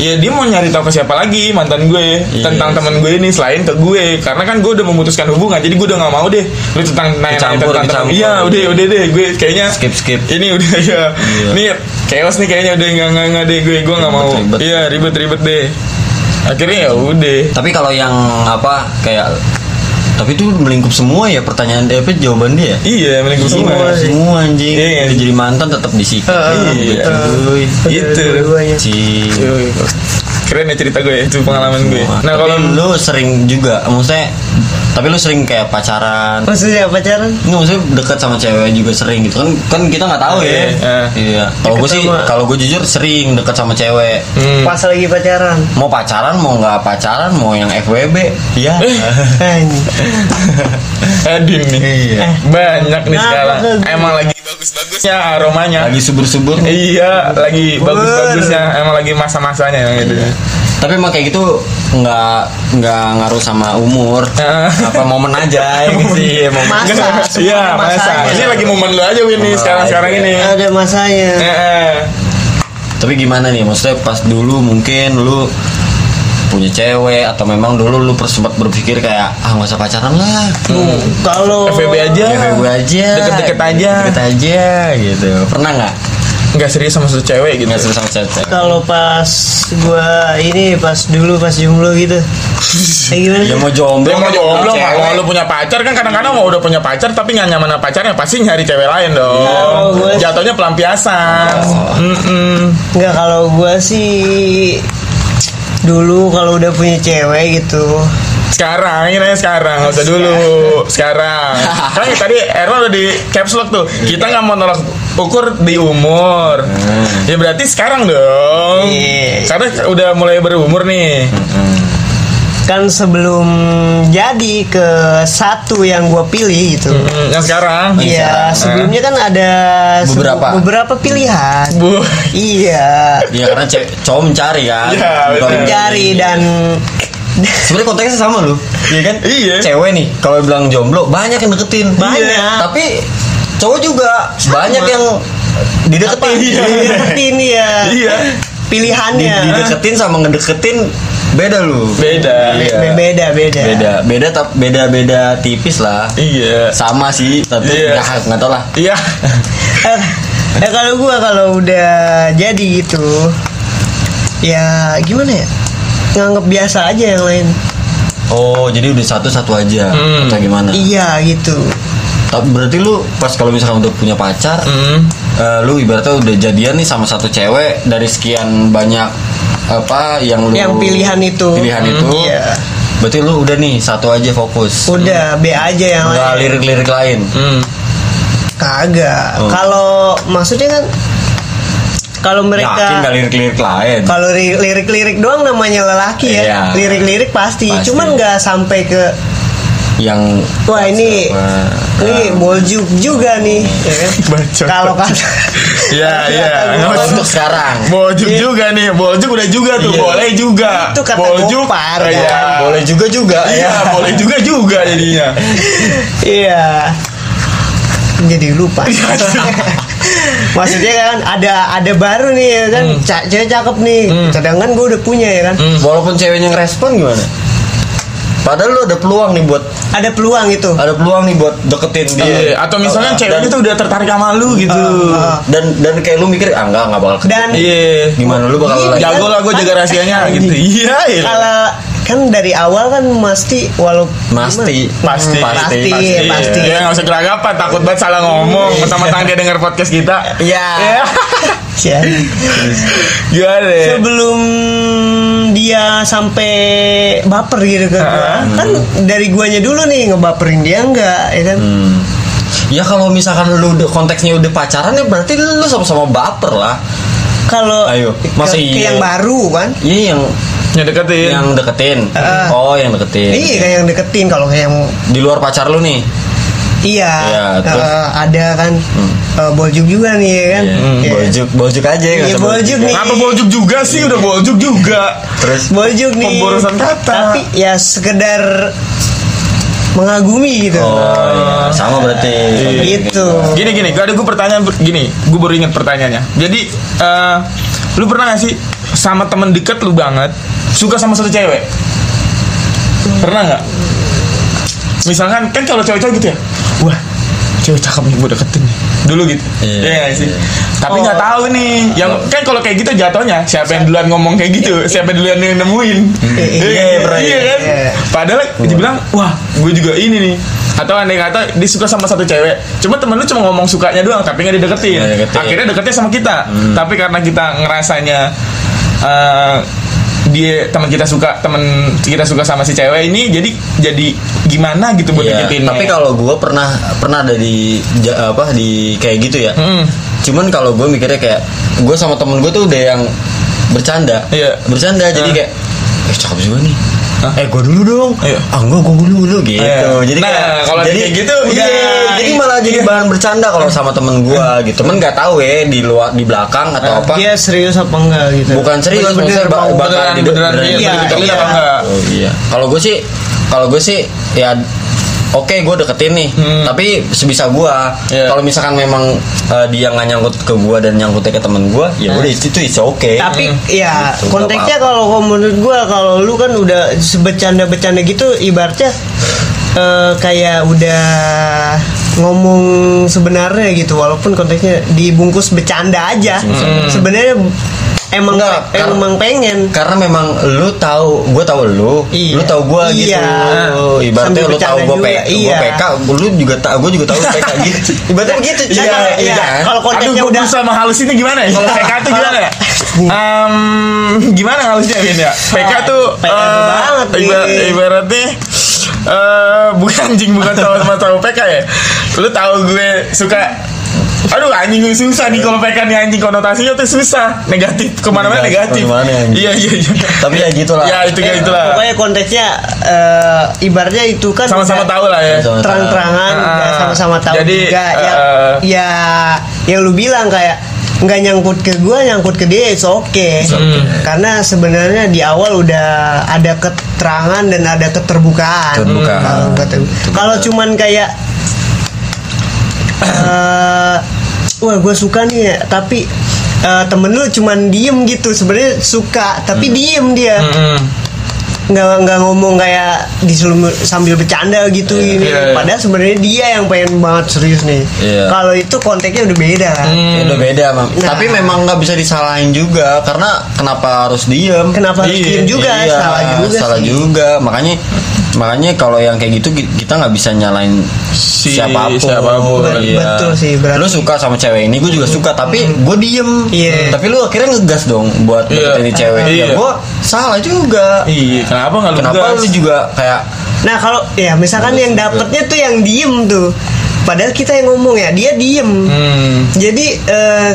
Speaker 1: ya dia mau nyari tahu ke siapa lagi mantan gue
Speaker 3: Iya,
Speaker 1: tentang
Speaker 3: sih.
Speaker 1: teman gue ini selain ke gue karena kan gue udah memutuskan hubungan jadi gue udah nggak mau deh lu tentang nanya-nanya tentang
Speaker 3: Kecampur,
Speaker 1: temen-
Speaker 3: kecampur.
Speaker 1: iya udah udah deh gue kayaknya
Speaker 3: Skip, skip.
Speaker 1: ini udah ya
Speaker 3: Iya.
Speaker 1: ini chaos nih kayaknya udah nggak nggak nggak deh gue gue nggak mau
Speaker 3: Ribet, ribet.
Speaker 1: iya ribet ribet deh akhirnya ya udah
Speaker 3: Tapi kalau yang apa kayak tapi itu melingkup semua ya pertanyaan dia apa jawaban dia.
Speaker 1: iya mending gue
Speaker 3: Semua,
Speaker 1: semua
Speaker 3: semua anjing.
Speaker 1: Iya, iya.
Speaker 3: Udah jadi mantan tetap disikat.
Speaker 2: Heeh.
Speaker 1: Iya.
Speaker 3: Cuy.
Speaker 1: Gitu.
Speaker 2: Dua-duanya.
Speaker 3: Ci.
Speaker 1: Yoi. Keren ya cerita gue, itu pengalaman gue. Nah
Speaker 3: tapi
Speaker 1: kalau
Speaker 3: Iya. lu sering juga, maksudnya, tapi lu sering kayak pacaran,
Speaker 2: Maksudnya pacaran?
Speaker 3: Nggak maksudnya dekat sama cewek juga sering gitu kan kan kita nggak tahu ya.
Speaker 1: Iya, iya.
Speaker 3: Iya. Kalau gue
Speaker 2: Deket
Speaker 3: sih
Speaker 2: sama-
Speaker 3: kalau gue jujur sering dekat sama cewek.
Speaker 1: Hmm.
Speaker 2: Pas lagi pacaran.
Speaker 3: Mau pacaran mau nggak pacaran mau yang FWB. Iya.
Speaker 1: Eh.
Speaker 2: Anjing.
Speaker 1: Edin nih,
Speaker 3: Iya.
Speaker 1: banyak nih
Speaker 2: Nah,
Speaker 1: sekarang.
Speaker 2: bagus.
Speaker 1: Emang lagi bagus-bagusnya aromanya.
Speaker 3: Lagi subur-subur.
Speaker 1: Iya, lagi
Speaker 2: Bener.
Speaker 1: bagus-bagusnya. Emang lagi masa-masanya yang gitu.
Speaker 3: Tapi emang kayak gitu nggak nggak ngaruh sama umur.
Speaker 1: Ah.
Speaker 3: Apa momen aja ya gitu sih. Momen.
Speaker 2: Masa, semua
Speaker 1: Iya,
Speaker 2: ada
Speaker 1: masa.
Speaker 2: masanya.
Speaker 1: Ini lagi momen lu aja Win nih
Speaker 3: Momen
Speaker 1: sekarang-sekarang
Speaker 3: aja.
Speaker 1: ini.
Speaker 2: Ada masanya.
Speaker 1: Eh, eh.
Speaker 3: Tapi gimana nih maksudnya pas dulu mungkin lu punya cewek atau memang dulu lu sempat berpikir kayak ah nggak usah pacaran lah
Speaker 2: Kalau
Speaker 1: FWB Hmm. aja.
Speaker 3: gue aja
Speaker 1: Deket-deket aja.
Speaker 3: deket aja gitu pernah nggak
Speaker 1: Nggak serius sama satu cewek gitu.
Speaker 3: nggak serius sama cewek
Speaker 2: kalau pas gua ini pas dulu pas jomblo gitu. Kayak gimana?
Speaker 3: ya mau jomblo
Speaker 1: Dia mau
Speaker 3: kan,
Speaker 1: jomblo,
Speaker 3: cewek.
Speaker 1: mau lu punya pacar kan kadang-kadang mau udah punya pacar tapi nggak nyaman sama pacarnya pasti nyari cewek lain
Speaker 2: Iya,
Speaker 1: dong.
Speaker 2: gue-
Speaker 1: Jatuhnya pelampiasan. Mm-mm.
Speaker 2: Enggak kalau gua sih dulu kalau udah punya cewek gitu.
Speaker 1: Sekarang, ini nanya sekarang, nggak usah dulu.
Speaker 2: Iya.
Speaker 1: Sekarang. Kan tadi Erwan udah di caps lock tuh. Kita nggak mau nolak ukur di umur. Ya berarti sekarang dong.
Speaker 2: Hmm. Iya.
Speaker 1: Karena udah mulai berumur nih.
Speaker 2: Kan sebelum jadi ke satu yang gua pilih gitu.
Speaker 3: Hmm.
Speaker 1: Mm, Yang sekarang.
Speaker 2: Iya, sebelumnya kan ada sebu-
Speaker 3: Oh, Beberapa.
Speaker 2: beberapa pilihan.
Speaker 1: Bu.
Speaker 2: Iya.
Speaker 3: ya karena cewek cowok mencari kan
Speaker 1: Iya,
Speaker 3: Bukan
Speaker 1: betul.
Speaker 2: Mencari dan
Speaker 3: sebenarnya konteksnya sama lu iya kan
Speaker 1: Iya.
Speaker 3: cewek nih kalau bilang jomblo banyak yang deketin
Speaker 2: Banyak.
Speaker 3: tapi cowok juga banyak yang dideketin
Speaker 2: dideketin ya.
Speaker 1: Iya.
Speaker 3: Iya. Di-
Speaker 2: Pilihannya.
Speaker 3: dideketin sama ngedeketin beda lu
Speaker 1: Beda.
Speaker 3: Iya.
Speaker 2: Beda, beda.
Speaker 3: beda beda tap- beda beda tipis lah
Speaker 1: Iya.
Speaker 3: sama sih tapi
Speaker 1: Iya.
Speaker 3: nggak nggak tau lah
Speaker 1: Iya.
Speaker 2: Eh, eh, kalau gua kalau udah jadi gitu ya gimana ya? Nganggep biasa aja yang lain.
Speaker 3: oh jadi udah satu satu aja
Speaker 1: Hmm.
Speaker 3: atau gimana
Speaker 2: Iya gitu.
Speaker 3: Tapi berarti lu pas kalau misalkan udah punya pacar,
Speaker 1: Mm.
Speaker 3: eh, lu ibaratnya udah jadian nih sama satu cewek dari sekian banyak apa yang lu
Speaker 2: Yang pilihan itu.
Speaker 3: Pilihan itu.
Speaker 2: Iya.
Speaker 3: Berarti lu udah nih satu aja fokus.
Speaker 2: Udah B aja yang
Speaker 3: Enggak
Speaker 2: lain.
Speaker 3: lirik-lirik lain.
Speaker 1: Mm.
Speaker 2: Kagak.
Speaker 3: Oh.
Speaker 2: Kalau maksudnya kan kalau
Speaker 3: Yakin
Speaker 2: mereka
Speaker 3: enggak lirik-lirik lain.
Speaker 2: kalau ri- lirik-lirik doang namanya lelaki
Speaker 3: Iya.
Speaker 2: ya. Lirik-lirik pasti.
Speaker 3: Pasti.
Speaker 2: Cuman nggak sampai ke
Speaker 3: yang
Speaker 2: Wah ini ini boljuk juga nih. ya kan?
Speaker 1: Bacot.
Speaker 2: Kalau kata
Speaker 1: Iya, iya.
Speaker 3: Kalau
Speaker 1: Nggak
Speaker 3: Nah, untuk sekarang
Speaker 1: Boljuk juga nih, boljuk udah juga tuh,
Speaker 3: Iya.
Speaker 1: boleh juga.
Speaker 2: Iya. Itu kata
Speaker 1: boljuk,
Speaker 2: gopar,
Speaker 1: Iya.
Speaker 2: kan?
Speaker 3: boleh juga juga
Speaker 2: ya.
Speaker 1: Iya, boleh juga juga jadinya.
Speaker 2: Iya. Jadi lupa.
Speaker 3: Iya,
Speaker 2: Maksudnya kan ada ada baru nih ya kan,
Speaker 3: Hmm.
Speaker 2: Ca- cewek cakep nih. Cadangan gue udah punya ya kan.
Speaker 3: Walaupun ceweknya ngerespon gimana? Padahal lu ada peluang nih buat
Speaker 2: Ada peluang itu.
Speaker 3: ada peluang nih buat deketin
Speaker 1: Iya,
Speaker 3: dia.
Speaker 1: atau misalnya ceweknya
Speaker 3: Dan-
Speaker 1: tuh udah tertarik sama lu gitu.
Speaker 2: Ah, ah.
Speaker 3: dan dan kayak lu mikir ah enggak enggak bakal ketemu.
Speaker 2: Dan
Speaker 1: Iya.
Speaker 3: gimana lu bakal
Speaker 2: Iya,
Speaker 3: lagi
Speaker 1: Jago lah gue jaga rahasianya gitu. Iya, iya.
Speaker 2: kalau kan dari awal kan mesti walau
Speaker 3: Masti.
Speaker 1: Pasti.
Speaker 3: Pasti.
Speaker 2: Pasti. Iya, pasti. Iya.
Speaker 1: Dia nggak usah keragapan, takut banget salah ngomong. Pertama-tama dia denger podcast kita.
Speaker 3: Iya.
Speaker 1: Iya.
Speaker 2: Ya.
Speaker 1: Gimana? ya?
Speaker 2: sebelum dia sampai baper gitu ke gua kan dari guanya dulu nih ngebaperin dia enggak ya kan
Speaker 3: Hmm. Ya kalau misalkan lu udah konteksnya udah pacaran ya berarti lu sama-sama baper lah.
Speaker 2: kalau
Speaker 3: Ayo,
Speaker 2: ke-
Speaker 3: masa
Speaker 2: ke
Speaker 3: iya?
Speaker 2: yang baru kan
Speaker 3: Iya yang
Speaker 1: Yang deketin.
Speaker 3: yang deketin.
Speaker 2: Ah.
Speaker 3: Oh, yang deketin.
Speaker 2: Iya kan yang deketin kalau kayak yang
Speaker 3: Di luar pacar lu nih.
Speaker 2: iya
Speaker 3: Iya, terus? Hmm.
Speaker 2: eh, ada kan eh, boljuk juga nih ya kan.
Speaker 3: Iya.
Speaker 2: Iya.
Speaker 3: Boljuk, boljuk aja ya. nggak
Speaker 2: Iya,
Speaker 3: usah
Speaker 2: boljuk nih.
Speaker 1: Kenapa boljuk juga sih? Udah boljuk juga.
Speaker 3: Terus
Speaker 2: Boljuk nih.
Speaker 1: Pemborosan kata.
Speaker 2: Tapi ya sekedar mengagumi gitu.
Speaker 3: Oh, iya. sama berarti.
Speaker 2: Gitu.
Speaker 1: Gini gini, gak ada gue pertanyaan gini, gue baru inget pertanyaannya. Jadi, eh, lu pernah gak sih sama temen deket lu banget suka sama satu cewek? Pernah nggak? Misalkan kan kalau cewek-cewek gitu ya, wah cewek cakep nih gue deketin nih. Dulu gitu,
Speaker 3: Iya.
Speaker 1: Iya nggak sih.
Speaker 3: Iya.
Speaker 1: Tapi
Speaker 2: Oh.
Speaker 1: nggak tahu nih, yang kan kalau kayak gitu jatuhnya siapa yang duluan ngomong kayak gitu, siapa yang duluan yang nemuin.
Speaker 2: Iya, iya, bro.
Speaker 1: Iya kan?
Speaker 2: Iya.
Speaker 1: Padahal dibilang, wah, gue juga ini nih. Atau andai kata dia suka sama satu cewek, cuma temen lu cuma ngomong sukanya doang, tapi nggak dideketin.
Speaker 3: Nggak dideketin. Hmm.
Speaker 1: Akhirnya deketnya sama kita, tapi karena kita ngerasanya eh, dia teman kita suka teman kita suka sama si cewek ini, jadi jadi gimana gitu buat
Speaker 3: Iya,
Speaker 1: deketinnya.
Speaker 3: tapi kalau gue pernah pernah ada di ja- apa di kayak gitu ya.
Speaker 1: Mm-mm.
Speaker 3: Cuman kalau gue mikirnya kayak gue sama temen gue tuh udah yang bercanda,
Speaker 1: Iya.
Speaker 3: bercanda. Jadi
Speaker 1: Ah.
Speaker 3: kayak eh cakep juga nih.
Speaker 1: Ah.
Speaker 3: Eh gue dulu dong.
Speaker 1: Iya.
Speaker 3: Ah enggak gue dulu dulu gitu.
Speaker 1: Iya.
Speaker 3: Jadi
Speaker 1: Nah,
Speaker 3: kayak-
Speaker 1: kalau
Speaker 3: jadi
Speaker 1: kayak gitu,
Speaker 3: iya,
Speaker 1: udah.
Speaker 3: Jadi malah jadi
Speaker 1: Iya.
Speaker 3: bahan bercanda kalau sama temen gue gitu. Cuman nggak tahu ya di luar di belakang atau apa.
Speaker 1: Iya,
Speaker 2: Dia serius apa enggak gitu.
Speaker 3: Bukan serius,
Speaker 2: Bener-bener
Speaker 3: maksudnya ba-
Speaker 2: mau-
Speaker 3: bakal
Speaker 1: beneran
Speaker 3: di-
Speaker 1: beneran
Speaker 3: beneran
Speaker 1: dia
Speaker 2: iya,
Speaker 1: beneran deketin
Speaker 2: iya.
Speaker 1: apa enggak?
Speaker 3: Oh iya. Kalau gue sih, kalau gue sih ya oke gue deketin nih,
Speaker 1: Hmm.
Speaker 3: tapi sebisa gue.
Speaker 1: Iya.
Speaker 3: Kalau misalkan memang eh, dia nggak nyangkut ke gue dan nyangkutnya ke temen gue, ya udah itu itu it's okay.
Speaker 1: Eh,
Speaker 2: tapi ya
Speaker 3: Gitu,
Speaker 2: konteksnya
Speaker 3: nggak
Speaker 2: kalau kalau menurut gua kalau lu kan udah sebecanda-becanda gitu ibaratnya eh, kayak udah ngomong sebenarnya gitu walaupun konteksnya dibungkus bercanda aja
Speaker 1: Hmm.
Speaker 2: sebenarnya emang
Speaker 3: Nggak, karena-
Speaker 2: emang pengen
Speaker 3: karena memang lu tahu, gue tahu lu,
Speaker 2: Iya.
Speaker 3: lu tahu gue gitu.
Speaker 2: Iya.
Speaker 3: Ibaratnya
Speaker 2: Sambil
Speaker 3: lu tahu
Speaker 2: bercanda
Speaker 3: gue
Speaker 2: juga,
Speaker 3: PK,
Speaker 2: iya.
Speaker 3: gue PK, lu juga tahu, gue juga tahu lu PK gitu. Ibaratnya begitu.
Speaker 2: Nah,
Speaker 3: Iya,
Speaker 2: kalau-
Speaker 3: iya.
Speaker 2: iya, kalau
Speaker 1: Aduh,
Speaker 2: konteksnya
Speaker 1: gue
Speaker 2: udah
Speaker 1: berusaha menghalusinnya gimana ya? Kalau PK tuh gimana ya? Em, gimana halusnya Bin ya? PK tuh
Speaker 2: PK tuh
Speaker 1: eh,
Speaker 2: banget,
Speaker 1: iba-
Speaker 2: Bin.
Speaker 1: ibaratnya eh bukan anjing bukan tahu sama tahu PK ya. Lu tahu gue suka Aduh anjing gue susah nih kalau PK nih anjing konotasinya tuh susah negatif kemana-mana negatif.
Speaker 3: Negatif, kemana-mana, anjing.
Speaker 1: Iya iya iya.
Speaker 3: Tapi ya gitulah.
Speaker 1: Ya itu kayak itulah.
Speaker 2: pokoknya konteksnya eh, ibaratnya itu kan
Speaker 1: Sama-sama
Speaker 2: udah-
Speaker 1: tahu lah ya.
Speaker 3: Sama-sama.
Speaker 2: terang-terangan
Speaker 1: Ah.
Speaker 2: ya sama-sama tahu
Speaker 1: Jadi,
Speaker 2: juga ya
Speaker 1: eh,
Speaker 2: ya yang lu bilang kayak nggak nyangkut ke gua nyangkut ke dia itu oke
Speaker 1: okay.
Speaker 2: karena sebenarnya di awal udah ada keterangan dan ada keterbukaan
Speaker 3: Keterbukaan.
Speaker 2: Kalau kata- kalau cuman kayak eh, wah gue suka nih ya, tapi eh, temen lu cuman diem gitu sebenarnya suka
Speaker 1: Hmm.
Speaker 2: tapi diem dia
Speaker 1: Mm-mm.
Speaker 2: nggak nggak ngomong kayak disuruh sambil bercanda gitu ini
Speaker 1: iya, iya.
Speaker 2: padahal sebenarnya dia yang pengen banget serius nih
Speaker 3: Iya.
Speaker 2: kalau itu konteksnya udah beda kan
Speaker 1: Hmm.
Speaker 3: Ya, udah beda, Mam.
Speaker 2: Nah.
Speaker 3: Tapi memang nggak bisa disalahin juga karena kenapa harus diem?
Speaker 2: kenapa harus
Speaker 1: Iya,
Speaker 2: diem juga
Speaker 3: Iya,
Speaker 2: salah juga
Speaker 3: salah
Speaker 2: sih.
Speaker 3: juga. Makanya makanya kalau yang kayak gitu ki- kita nggak bisa nyalain
Speaker 1: Si-
Speaker 3: siapapun.
Speaker 1: siapapun. iya.
Speaker 2: Bet- betul sih, berarti. Hmm.
Speaker 3: Lu suka sama cewek ini, gue juga suka, tapi gue diem.
Speaker 2: Iya.
Speaker 3: Tapi lu akhirnya ngegas dong buat
Speaker 1: Iya.
Speaker 3: deketin ini cewek.
Speaker 1: Iya.
Speaker 3: Ya, gue salah juga.
Speaker 1: Iya, kenapa enggak lu?
Speaker 3: Kenapa
Speaker 1: gas?
Speaker 3: lu juga kayak
Speaker 2: nah kalau ya misalkan
Speaker 3: Iya,
Speaker 2: yang dapetnya tuh yang diem
Speaker 3: Hmm.
Speaker 1: Mm.
Speaker 2: tuh padahal kita yang ngomong ya dia diem
Speaker 1: Hmm.
Speaker 2: jadi eh,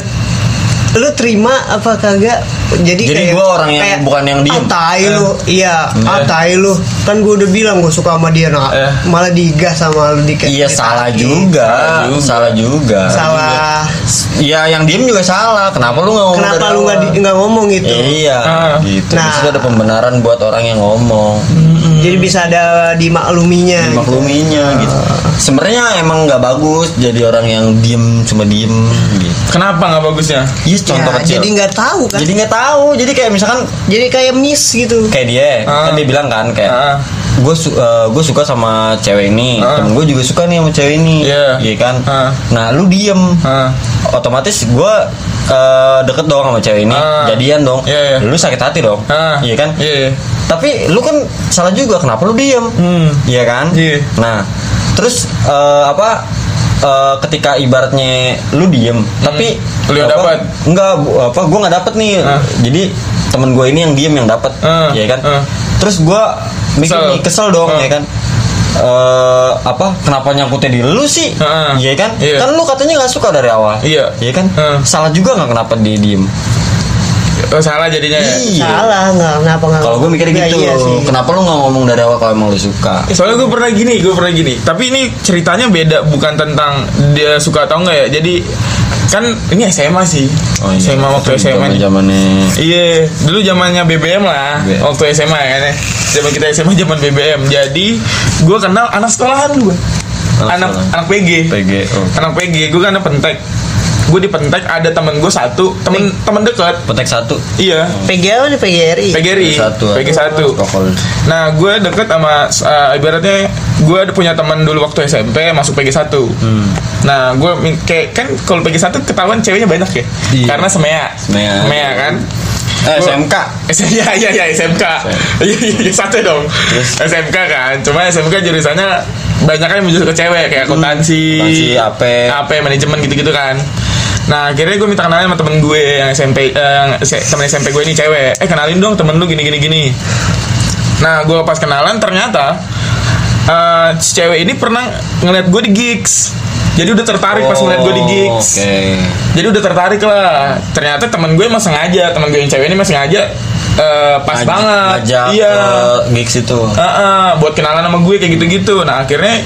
Speaker 2: lu terima apa kagak jadi,
Speaker 3: Jadi
Speaker 2: kayak
Speaker 3: gua orang yang
Speaker 2: kayak,
Speaker 3: bukan yang diem. Eh.
Speaker 2: "Ah, tai lu iya
Speaker 1: Iya.
Speaker 2: ah, tai lu kan gue udah bilang gue suka sama dia nah,
Speaker 1: Iya.
Speaker 2: malah digas sama lu di
Speaker 3: Eh. Iya
Speaker 2: di-
Speaker 3: salah
Speaker 2: di-
Speaker 3: juga,
Speaker 1: juga.
Speaker 3: salah juga.
Speaker 2: salah
Speaker 3: Iya yang diem juga salah. Kenapa lu nggak ngomong?
Speaker 2: kenapa
Speaker 3: dari
Speaker 2: lu nggak
Speaker 3: awal?
Speaker 2: di- nggak ngomong gitu
Speaker 3: Iya,
Speaker 1: Ah.
Speaker 3: gitu.
Speaker 2: Nah.
Speaker 3: Terus ada pembenaran buat orang yang ngomong,
Speaker 2: jadi bisa ada dimakluminya gitu.
Speaker 3: makluminya gitu. Sebenarnya emang nggak bagus jadi orang yang diem cuma diem gitu.
Speaker 1: Kenapa nggak bagusnya?
Speaker 3: Iya contoh
Speaker 2: Ya,
Speaker 3: kecil.
Speaker 2: jadi nggak tahu kan
Speaker 3: Jadi nggak tahu. Jadi kayak misalkan
Speaker 2: jadi kayak miss gitu
Speaker 3: kayak dia,
Speaker 1: Ah.
Speaker 3: kan dia bilang kan kayak.
Speaker 1: Ah.
Speaker 3: Gue suka sama cewek ini,
Speaker 1: Ah.
Speaker 3: temen gue juga suka nih sama cewek ini,
Speaker 1: Iya.
Speaker 3: iya kan?
Speaker 1: Ah.
Speaker 3: Nah lu diem,
Speaker 1: Ah.
Speaker 3: otomatis gue deket dong sama cewek ini,
Speaker 1: Ah.
Speaker 3: jadian dong,
Speaker 1: Iya, iya.
Speaker 3: lu sakit hati dong,
Speaker 1: Ah.
Speaker 3: iya kan?
Speaker 1: Iya.
Speaker 3: tapi lu kan salah juga kenapa lu diem
Speaker 1: Hmm.
Speaker 3: iya kan
Speaker 1: Iya.
Speaker 3: nah terus eh, apa eh, ketika ibaratnya lu diem tapi
Speaker 1: Hmm. Lu yang
Speaker 3: apa,
Speaker 1: dapat.
Speaker 3: enggak bu- apa gua nggak dapet nih
Speaker 1: Ah.
Speaker 3: jadi temen gue ini yang diem yang dapat
Speaker 1: Ah,
Speaker 3: iya kan
Speaker 1: ah.
Speaker 3: terus gua mikir
Speaker 1: Kesel.
Speaker 3: nih kesel dong
Speaker 1: Ah.
Speaker 3: ya kan Eh, apa kenapa nyangkutnya di lu sih
Speaker 1: Ah, ah.
Speaker 3: iya kan
Speaker 1: Iya.
Speaker 3: kan lu katanya nggak suka dari awal
Speaker 1: Iya.
Speaker 3: iya kan
Speaker 1: Ah.
Speaker 3: salah juga nggak kenapa dia diem
Speaker 1: Oh, salah jadinya ya.
Speaker 2: salah nggak kenapa nggak
Speaker 3: Iya. kalau gue mikirnya
Speaker 1: Oh,
Speaker 2: Ya,
Speaker 3: gitu,
Speaker 2: iya sih.
Speaker 3: kenapa lu nggak ngomong dari awal kalau emang lu suka?
Speaker 1: Soalnya gue pernah gini, gue pernah gini. Tapi ini ceritanya beda, bukan tentang dia suka atau enggak ya. Jadi kan ini SMA sih. SMA waktu SMA.
Speaker 3: Oh iya. zaman zamannya
Speaker 1: Iya, dulu zamannya BBM lah,
Speaker 3: Iya.
Speaker 1: waktu SMA ya kan ya. Zaman kita SMA zaman BBM. Jadi gue kenal anak sekolahan gue,
Speaker 3: Anak
Speaker 1: anak
Speaker 3: sekolahan.
Speaker 1: anak PG,
Speaker 3: PG. Oh.
Speaker 1: anak PG. Gue kan anak pentek. Gue di pentek ada temen gue satu, temen temen dekat.
Speaker 3: Petek satu.
Speaker 1: Iya,
Speaker 3: Oh.
Speaker 2: PG apa nih PGRI
Speaker 1: PGRI, PG satu.
Speaker 3: Kokol.
Speaker 1: Nah, gue deket sama uh, ibaratnya gue ada punya teman dulu waktu SMP masuk PG1.
Speaker 3: Hmm.
Speaker 1: Nah, gue min- kayak kan kalau PG1 ketahuan ceweknya banyak ya.
Speaker 3: Iya.
Speaker 1: Karena semea.
Speaker 3: Semea.
Speaker 1: kan.
Speaker 3: Eh,
Speaker 1: Gua-
Speaker 3: SMK.
Speaker 1: Iya iya iya SMK. Iya iya, iya satu dong. SMK kan. Cuma SMK jurusannya banyak kan menuju ke cewek kayak akuntansi,
Speaker 3: Hmm. Akuntansi, AP.
Speaker 1: AP manajemen gitu-gitu kan. Nah, akhirnya gue minta kenalan sama temen gue yang SMP eh, yang se- temen SMP gue ini cewek. Eh, kenalin dong temen lu gini gini gini. Nah, gue pas kenalan ternyata eh, si cewek ini pernah ngeliat gue di gigs. Jadi udah tertarik pas ngeliat gue di gigs.
Speaker 3: Oh, Oke.
Speaker 1: Jadi udah tertarik lah. Ternyata teman gue emang sengaja, teman gue yang cewek ini emang sengaja eh, pas
Speaker 3: Ngaj-
Speaker 1: banget.
Speaker 3: Ngajak
Speaker 1: iya.
Speaker 3: ke gigs eh, itu.
Speaker 1: Heeh, buat kenalan sama gue kayak gitu-gitu. Nah, akhirnya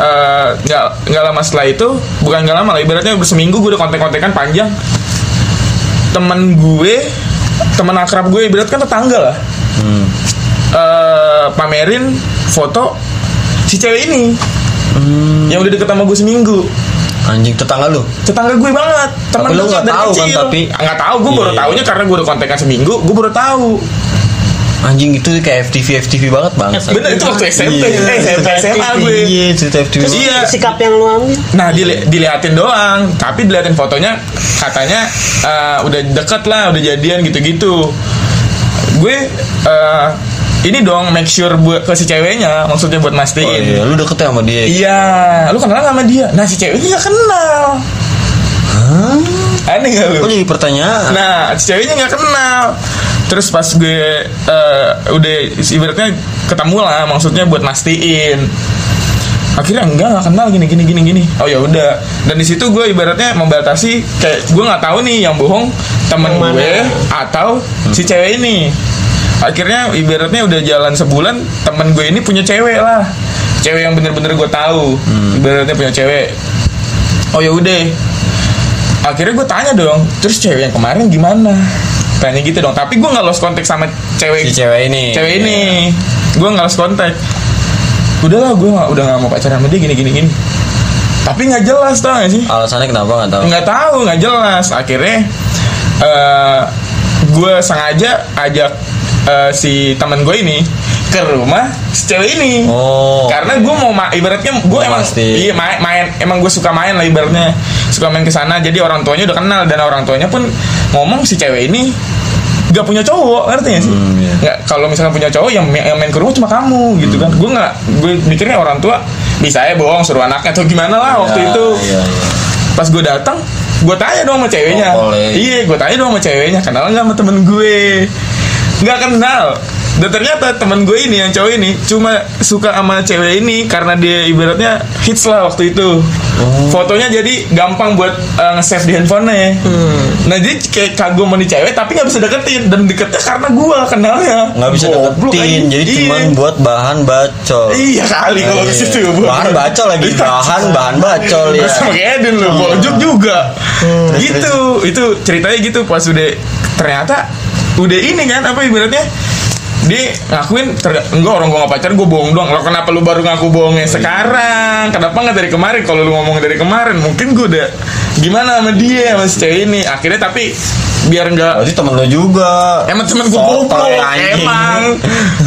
Speaker 1: eh, nggak nggak lama setelah itu, bukan nggak lama lah, ibaratnya udah seminggu gue udah kontek-kontekan panjang. Temen gue, temen akrab gue ibarat kan tetangga lah.
Speaker 3: Hmm.
Speaker 1: Eh, pamerin foto si cewek ini
Speaker 3: Hmm.
Speaker 1: yang udah deket sama gue seminggu
Speaker 3: Anjing tetangga lu.
Speaker 1: tetangga gue banget teman
Speaker 3: Tapi lu
Speaker 1: dekat
Speaker 3: nggak
Speaker 1: dari
Speaker 3: tahu kan,
Speaker 1: kecil.
Speaker 3: tapi-
Speaker 1: nggak tahu gue baru
Speaker 3: Iya, iya.
Speaker 1: tahunya karena gue udah kontekan seminggu gue baru tahu
Speaker 3: Anjing itu kayak FTV FTV banget bang.
Speaker 1: bener itu waktu SMP
Speaker 3: Iya.
Speaker 1: eh SMP SMA gue
Speaker 3: Iya, cerita FTV.
Speaker 1: Terus iya
Speaker 2: sikap yang lu ambil
Speaker 1: nah dili- diliatin doang tapi diliatin fotonya katanya eh, udah deket lah udah jadian gitu-gitu gue eh, ini dong make sure buat ke si ceweknya maksudnya buat mastiin
Speaker 3: Oh, iya, lu deket ya sama dia.
Speaker 1: Iya, lu kenal sama dia. Nah si ceweknya nggak kenal. Hah? Aneh gak lu?
Speaker 3: Kok jadi pertanyaan?
Speaker 1: Nah, si ceweknya nggak kenal. Terus pas gue eh, udah ibaratnya ketemu lah, maksudnya buat mastiin. Akhirnya enggak nggak kenal gini gini gini gini. Oh ya udah. Dan di situ gue ibaratnya membatasi kayak gue nggak tahu nih yang bohong temen
Speaker 2: Yang mana?
Speaker 1: gue atau si cewek ini. Akhirnya ibaratnya udah jalan sebulan temen gue ini punya cewek lah. Cewek yang bener-bener gue tahu.
Speaker 2: Hmm.
Speaker 1: Ibaratnya punya cewek. Oh ya udah akhirnya gue tanya dong terus cewek yang kemarin gimana tanya gitu dong tapi gue nggak lost kontak sama cewek
Speaker 3: Si cewek ini. Iya.
Speaker 1: cewek ini gue nggak lost kontak udahlah gue nggak udah nggak mau pacaran sama dia gini gini gini tapi nggak jelas tau gak sih
Speaker 3: Alasannya kenapa nggak tahu?
Speaker 1: nggak tahu nggak jelas akhirnya eh gue sengaja ajak eh, si teman gue ini ke rumah si cewek ini
Speaker 3: Oh.
Speaker 1: karena gue mau ma- ibaratnya gue
Speaker 3: Mau
Speaker 1: emang
Speaker 3: mastiin.
Speaker 1: iya main, main emang gue suka main lah ibaratnya suka main ke sana jadi orang tuanya udah kenal dan orang tuanya pun ngomong si cewek ini gak punya cowok ngerti gak sih
Speaker 3: Hmm, iya. Hmm.
Speaker 1: nggak kalau misalnya punya cowok yang, yang main ke rumah cuma kamu gitu kan gue nggak gue mikirnya orang tua bisa ya bohong suruh anaknya atau gimana lah waktu
Speaker 3: Ya,
Speaker 1: itu
Speaker 3: Iya, iya.
Speaker 1: pas gue datang gue tanya dong sama ceweknya
Speaker 3: Oh, boleh.
Speaker 1: iya gue tanya dong sama ceweknya kenal nggak sama temen gue nggak kenal dan ternyata temen gue ini yang cowok ini cuma suka sama cewek ini karena dia ibaratnya hits lah waktu itu
Speaker 3: Oh.
Speaker 1: Fotonya jadi gampang buat eh, nge-save di handphonenya.
Speaker 3: Hmm.
Speaker 1: Nah jadi kayak kagum sama nih cewek tapi nggak bisa deketin dan deketnya karena gua kenalnya.
Speaker 3: nggak bisa
Speaker 1: Goblok,
Speaker 3: deketin
Speaker 1: anjing.
Speaker 3: jadi
Speaker 1: Iya.
Speaker 3: cuman buat bahan bacol
Speaker 1: Iya kali kalau ke
Speaker 3: Iya.
Speaker 1: situ Iya.
Speaker 3: bahan bacol lagi bahan bahan bacol ya Hmm.
Speaker 1: Terus pakai Eden lu, Boljuk juga. Gitu, itu ceritanya gitu pas udah ternyata udah ini kan apa ibaratnya dia ngakuin ter- enggak orang gua gak pacar gua bohong doang lo kenapa lu baru ngaku
Speaker 3: Oh,
Speaker 1: bohongnya
Speaker 3: iya.
Speaker 1: sekarang kenapa nggak dari kemarin kalau lu ngomong dari kemarin mungkin gua udah gimana sama dia sama si cewek ini akhirnya tapi biar enggak
Speaker 3: berarti temen lo juga
Speaker 1: Emang temen gue
Speaker 3: Sotoy,
Speaker 1: goblok
Speaker 3: anjing.
Speaker 1: Emang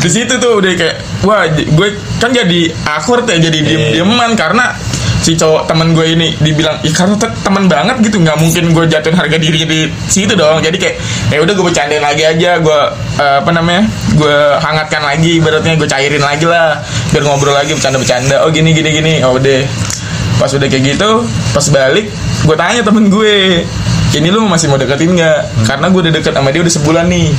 Speaker 1: Di situ tuh udah kayak Wah j- gue kan jadi akur ya Jadi
Speaker 3: Iya.
Speaker 1: diem-dieman Karena si cowok temen gue ini dibilang Ih karena te- temen banget gitu nggak mungkin gue jatuhin harga diri di situ dong jadi kayak ya udah gue bercandain lagi aja gue eh, apa namanya gue hangatkan lagi ibaratnya gue cairin lagi lah biar ngobrol lagi bercanda-bercanda oh gini gini gini oh deh pas udah kayak gitu pas balik gue tanya temen gue ini lu masih mau deketin nggak karena gue udah deket sama dia udah sebulan nih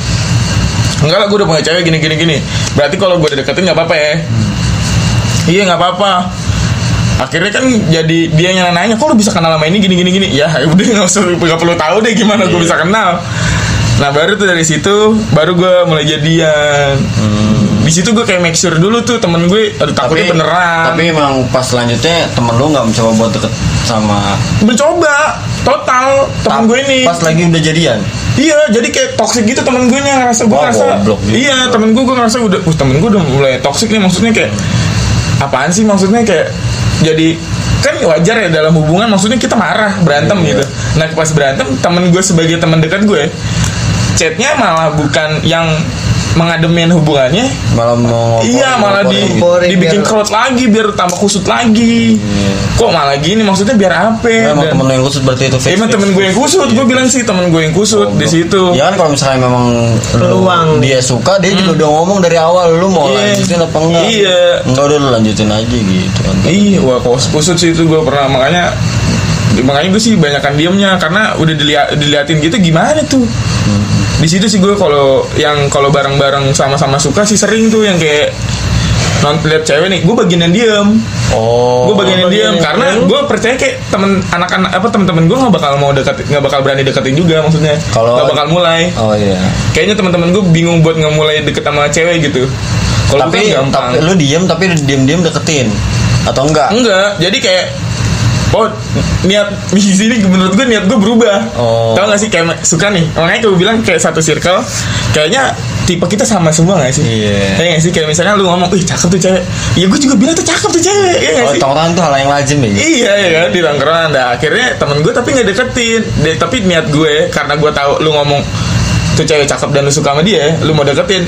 Speaker 1: enggak lah gue udah punya cewek gini gini gini berarti kalau gue udah deketin nggak apa-apa ya iya nggak apa-apa akhirnya kan jadi dia yang nanya kok lu bisa kenal sama ini gini gini gini ya udah nggak usah nggak perlu tahu deh gimana
Speaker 3: Iya.
Speaker 1: gue bisa kenal nah baru tuh dari situ baru gue mulai jadian di situ gue kayak make sure dulu tuh temen gue aduh takutnya beneran
Speaker 3: Hmm. tapi emang pas selanjutnya temen lo nggak mencoba buat deket sama
Speaker 1: mencoba total temen gue ini
Speaker 3: pas lagi udah jadian
Speaker 1: Iya, jadi kayak toxic gitu temen gue nih yang ngerasa gue
Speaker 3: Wah,
Speaker 1: ngerasa.
Speaker 3: goblok gitu.
Speaker 1: Iya, temen gue gue ngerasa udah, uh, temen gue udah mulai toxic nih maksudnya kayak apaan sih maksudnya kayak jadi kan wajar ya dalam hubungan maksudnya kita marah berantem
Speaker 3: Iya.
Speaker 1: gitu. Nah pas berantem temen gue sebagai teman dekat gue, chatnya malah bukan yang mengademin hubungannya.
Speaker 3: malah mau
Speaker 1: iya, malah di,
Speaker 3: ngomporin gitu.
Speaker 2: Ngomporin
Speaker 1: dibikin
Speaker 2: biar-
Speaker 1: kerut lagi biar tambah kusut lagi. Kok malah gini maksudnya biar apa? Dan-
Speaker 3: emang Iya.
Speaker 1: Ya,
Speaker 3: temen lo yang khusus berarti itu fix,
Speaker 1: Emang
Speaker 3: fix,
Speaker 1: temen gue
Speaker 3: fix.
Speaker 1: yang kusut, gue bilang sih temen gue yang kusut di situ.
Speaker 3: Ya kan kalau misalnya memang lu-
Speaker 2: Peluang.
Speaker 3: dia suka, dia juga udah ngomong dari awal lu mau
Speaker 1: Hmm. Iya.
Speaker 3: lanjutin apa enggak?
Speaker 1: Iya.
Speaker 3: Enggak udah lu lanjutin aja gitu kan.
Speaker 1: Iya, wah kos kusut sih itu gue pernah makanya makanya gue sih banyakan diemnya karena udah dilihat diliatin gitu gimana tuh. Di situ sih gue kalau yang kalau bareng-bareng sama-sama suka sih sering tuh yang kayak non lihat cewek nih, gue bagian yang diem,
Speaker 3: Oh.
Speaker 1: gue bagian yang diem karena gue percaya kayak temen anak-anak apa temen-temen gue nggak bakal mau deket nggak bakal berani deketin juga maksudnya,
Speaker 3: Kalau-
Speaker 1: nggak bakal mulai.
Speaker 3: Oh iya.
Speaker 1: Kayaknya teman-teman gue bingung buat ngemulai deket sama cewek gitu. Kalau gue
Speaker 3: Tapi,
Speaker 1: kan gampang.
Speaker 3: tapi lu diem tapi diem-diem deketin atau enggak?
Speaker 1: Enggak, jadi kayak Oh, niat di sini menurut gue niat gue berubah.
Speaker 3: Oh.
Speaker 1: Tahu gak sih kayak suka nih. Makanya gue bilang kayak satu circle, kayaknya tipe kita sama semua gak sih?
Speaker 3: Iya.
Speaker 1: Kayak gak sih kayak misalnya lu ngomong, "Ih, cakep tuh cewek." Ya gue juga bilang tuh cakep tuh cewek. Iya gak
Speaker 3: Oh,
Speaker 1: sih?
Speaker 3: tongkrongan tuh hal yang lazim ya. gitu?
Speaker 1: Iya ya kan di tongkrongan Nah, akhirnya temen gue tapi nggak deketin Dia- tapi niat gue karena gue tahu lu ngomong tuh cewek cakep dan lu suka sama dia lu mau deketin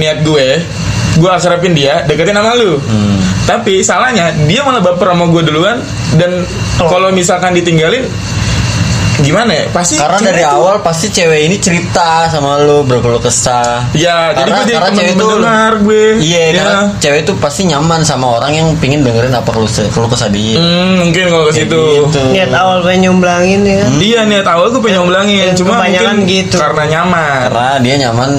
Speaker 1: niat gue gue akrabin dia deketin sama lu
Speaker 3: Hmm.
Speaker 1: tapi salahnya dia malah baper sama gue duluan dan
Speaker 2: Oh.
Speaker 1: kalau misalkan ditinggalin gimana ya pasti
Speaker 3: Karena
Speaker 1: cewek
Speaker 3: dari
Speaker 1: tuh-
Speaker 3: awal pasti cewek ini cerita sama lu berkeluh kesah.
Speaker 1: ya jadi
Speaker 3: Karena-
Speaker 1: gue jadi
Speaker 3: karena
Speaker 1: temen
Speaker 3: cewek tuh-
Speaker 1: mendengar gue
Speaker 3: Iya,
Speaker 1: Ya.
Speaker 3: karena cewek itu pasti nyaman sama orang yang pingin dengerin apa keluh keluh kesah dia.
Speaker 1: Hmm, Iya, mungkin kalau ke
Speaker 3: Kayak
Speaker 1: situ
Speaker 3: gitu.
Speaker 2: niat awal pengen nyomblangin ya
Speaker 3: Hmm.
Speaker 2: kan?
Speaker 1: Iya niat awal gue pengen ngomongin
Speaker 2: Eh,
Speaker 1: Cuma
Speaker 2: kebanyakan
Speaker 1: mungkin
Speaker 2: gitu.
Speaker 1: karena nyaman
Speaker 3: karena dia nyaman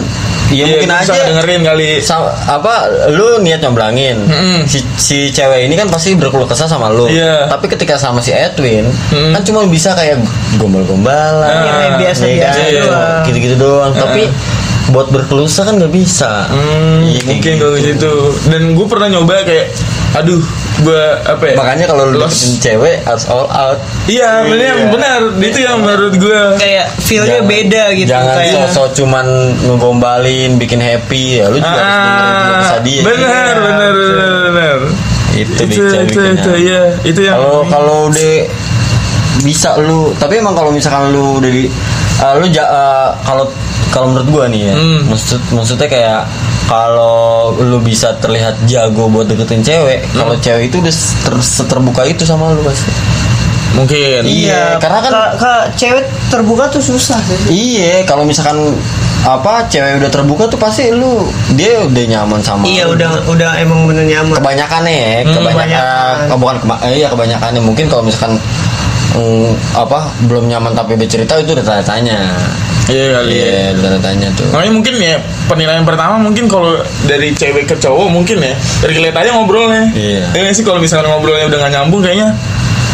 Speaker 3: ya
Speaker 1: Iya,
Speaker 3: mungkin
Speaker 1: gua
Speaker 3: aja
Speaker 1: bisa dengerin kali.
Speaker 3: sa- apa lu niat nyomblangin
Speaker 1: Mm-mm.
Speaker 3: si, si cewek ini kan pasti berkeluh kesah sama lu
Speaker 1: Iya.
Speaker 3: tapi ketika sama si Edwin
Speaker 1: Mm.
Speaker 3: kan cuma bisa kayak gombal-gombalan
Speaker 1: Ah,
Speaker 2: yang biasa
Speaker 3: ya kan?
Speaker 2: biasa
Speaker 1: iya.
Speaker 2: doang.
Speaker 3: gitu-gitu doang tapi buat berkeluh kesah kan nggak bisa
Speaker 1: Hmm,
Speaker 3: Iya, kayak
Speaker 1: mungkin
Speaker 3: gitu.
Speaker 1: kalau gitu. Dan gue pernah nyoba kayak, aduh, gue apa ya?
Speaker 3: makanya kalau lu
Speaker 1: Los-
Speaker 3: deketin cewek harus all out
Speaker 1: Iya, benar,
Speaker 3: Iya.
Speaker 1: benar. Itu yang menurut gue.
Speaker 2: kayak feelnya
Speaker 3: Jangan-
Speaker 2: beda gitu
Speaker 3: jangan
Speaker 2: kayak
Speaker 3: sosok cuman ngegombalin bikin happy ya lu juga harus dengerin keluh
Speaker 1: Ah,
Speaker 3: kesah dia
Speaker 1: benar,
Speaker 3: Iya.
Speaker 1: benar, benar, benar.
Speaker 3: itu
Speaker 1: Itu,
Speaker 3: nih
Speaker 1: itu,
Speaker 3: cewek kan.
Speaker 1: itu, itu,
Speaker 3: kenyang.
Speaker 1: iya. Itu yang.
Speaker 3: kalau kalau udah bisa lu tapi emang kalau misalkan lu udah di eh, lu ja- eh, kalau kalau menurut gua nih ya
Speaker 1: Hmm.
Speaker 3: maksud maksudnya kayak kalau lu bisa terlihat jago buat deketin cewek kalau cewek itu udah ter- seterbuka itu sama lu pasti
Speaker 1: mungkin.
Speaker 3: iya karena kan
Speaker 2: ka- ka- cewek terbuka tuh susah sih.
Speaker 3: iya kalau misalkan apa cewek udah terbuka tuh pasti lu dia udah nyaman sama
Speaker 2: iya
Speaker 3: lu.
Speaker 2: udah udah emang bener nyaman
Speaker 3: kebanyakannya ya
Speaker 1: Hmm.
Speaker 3: kebanyakan
Speaker 2: kebanyakan.
Speaker 3: oh, bukan keba eh, iya kebanyakannya mungkin kalau misalkan mm, apa belum nyaman tapi bercerita itu udah tanda tanya
Speaker 1: Iya kali. ya.
Speaker 3: iya udah tanda tanya tuh
Speaker 1: Makanya mungkin ya penilaian pertama mungkin kalau dari cewek ke cowok mungkin ya dari kelihatan aja ngobrolnya.
Speaker 3: Iya.
Speaker 1: Ya nggak sih kalau misalnya ngobrolnya udah gak nyambung kayaknya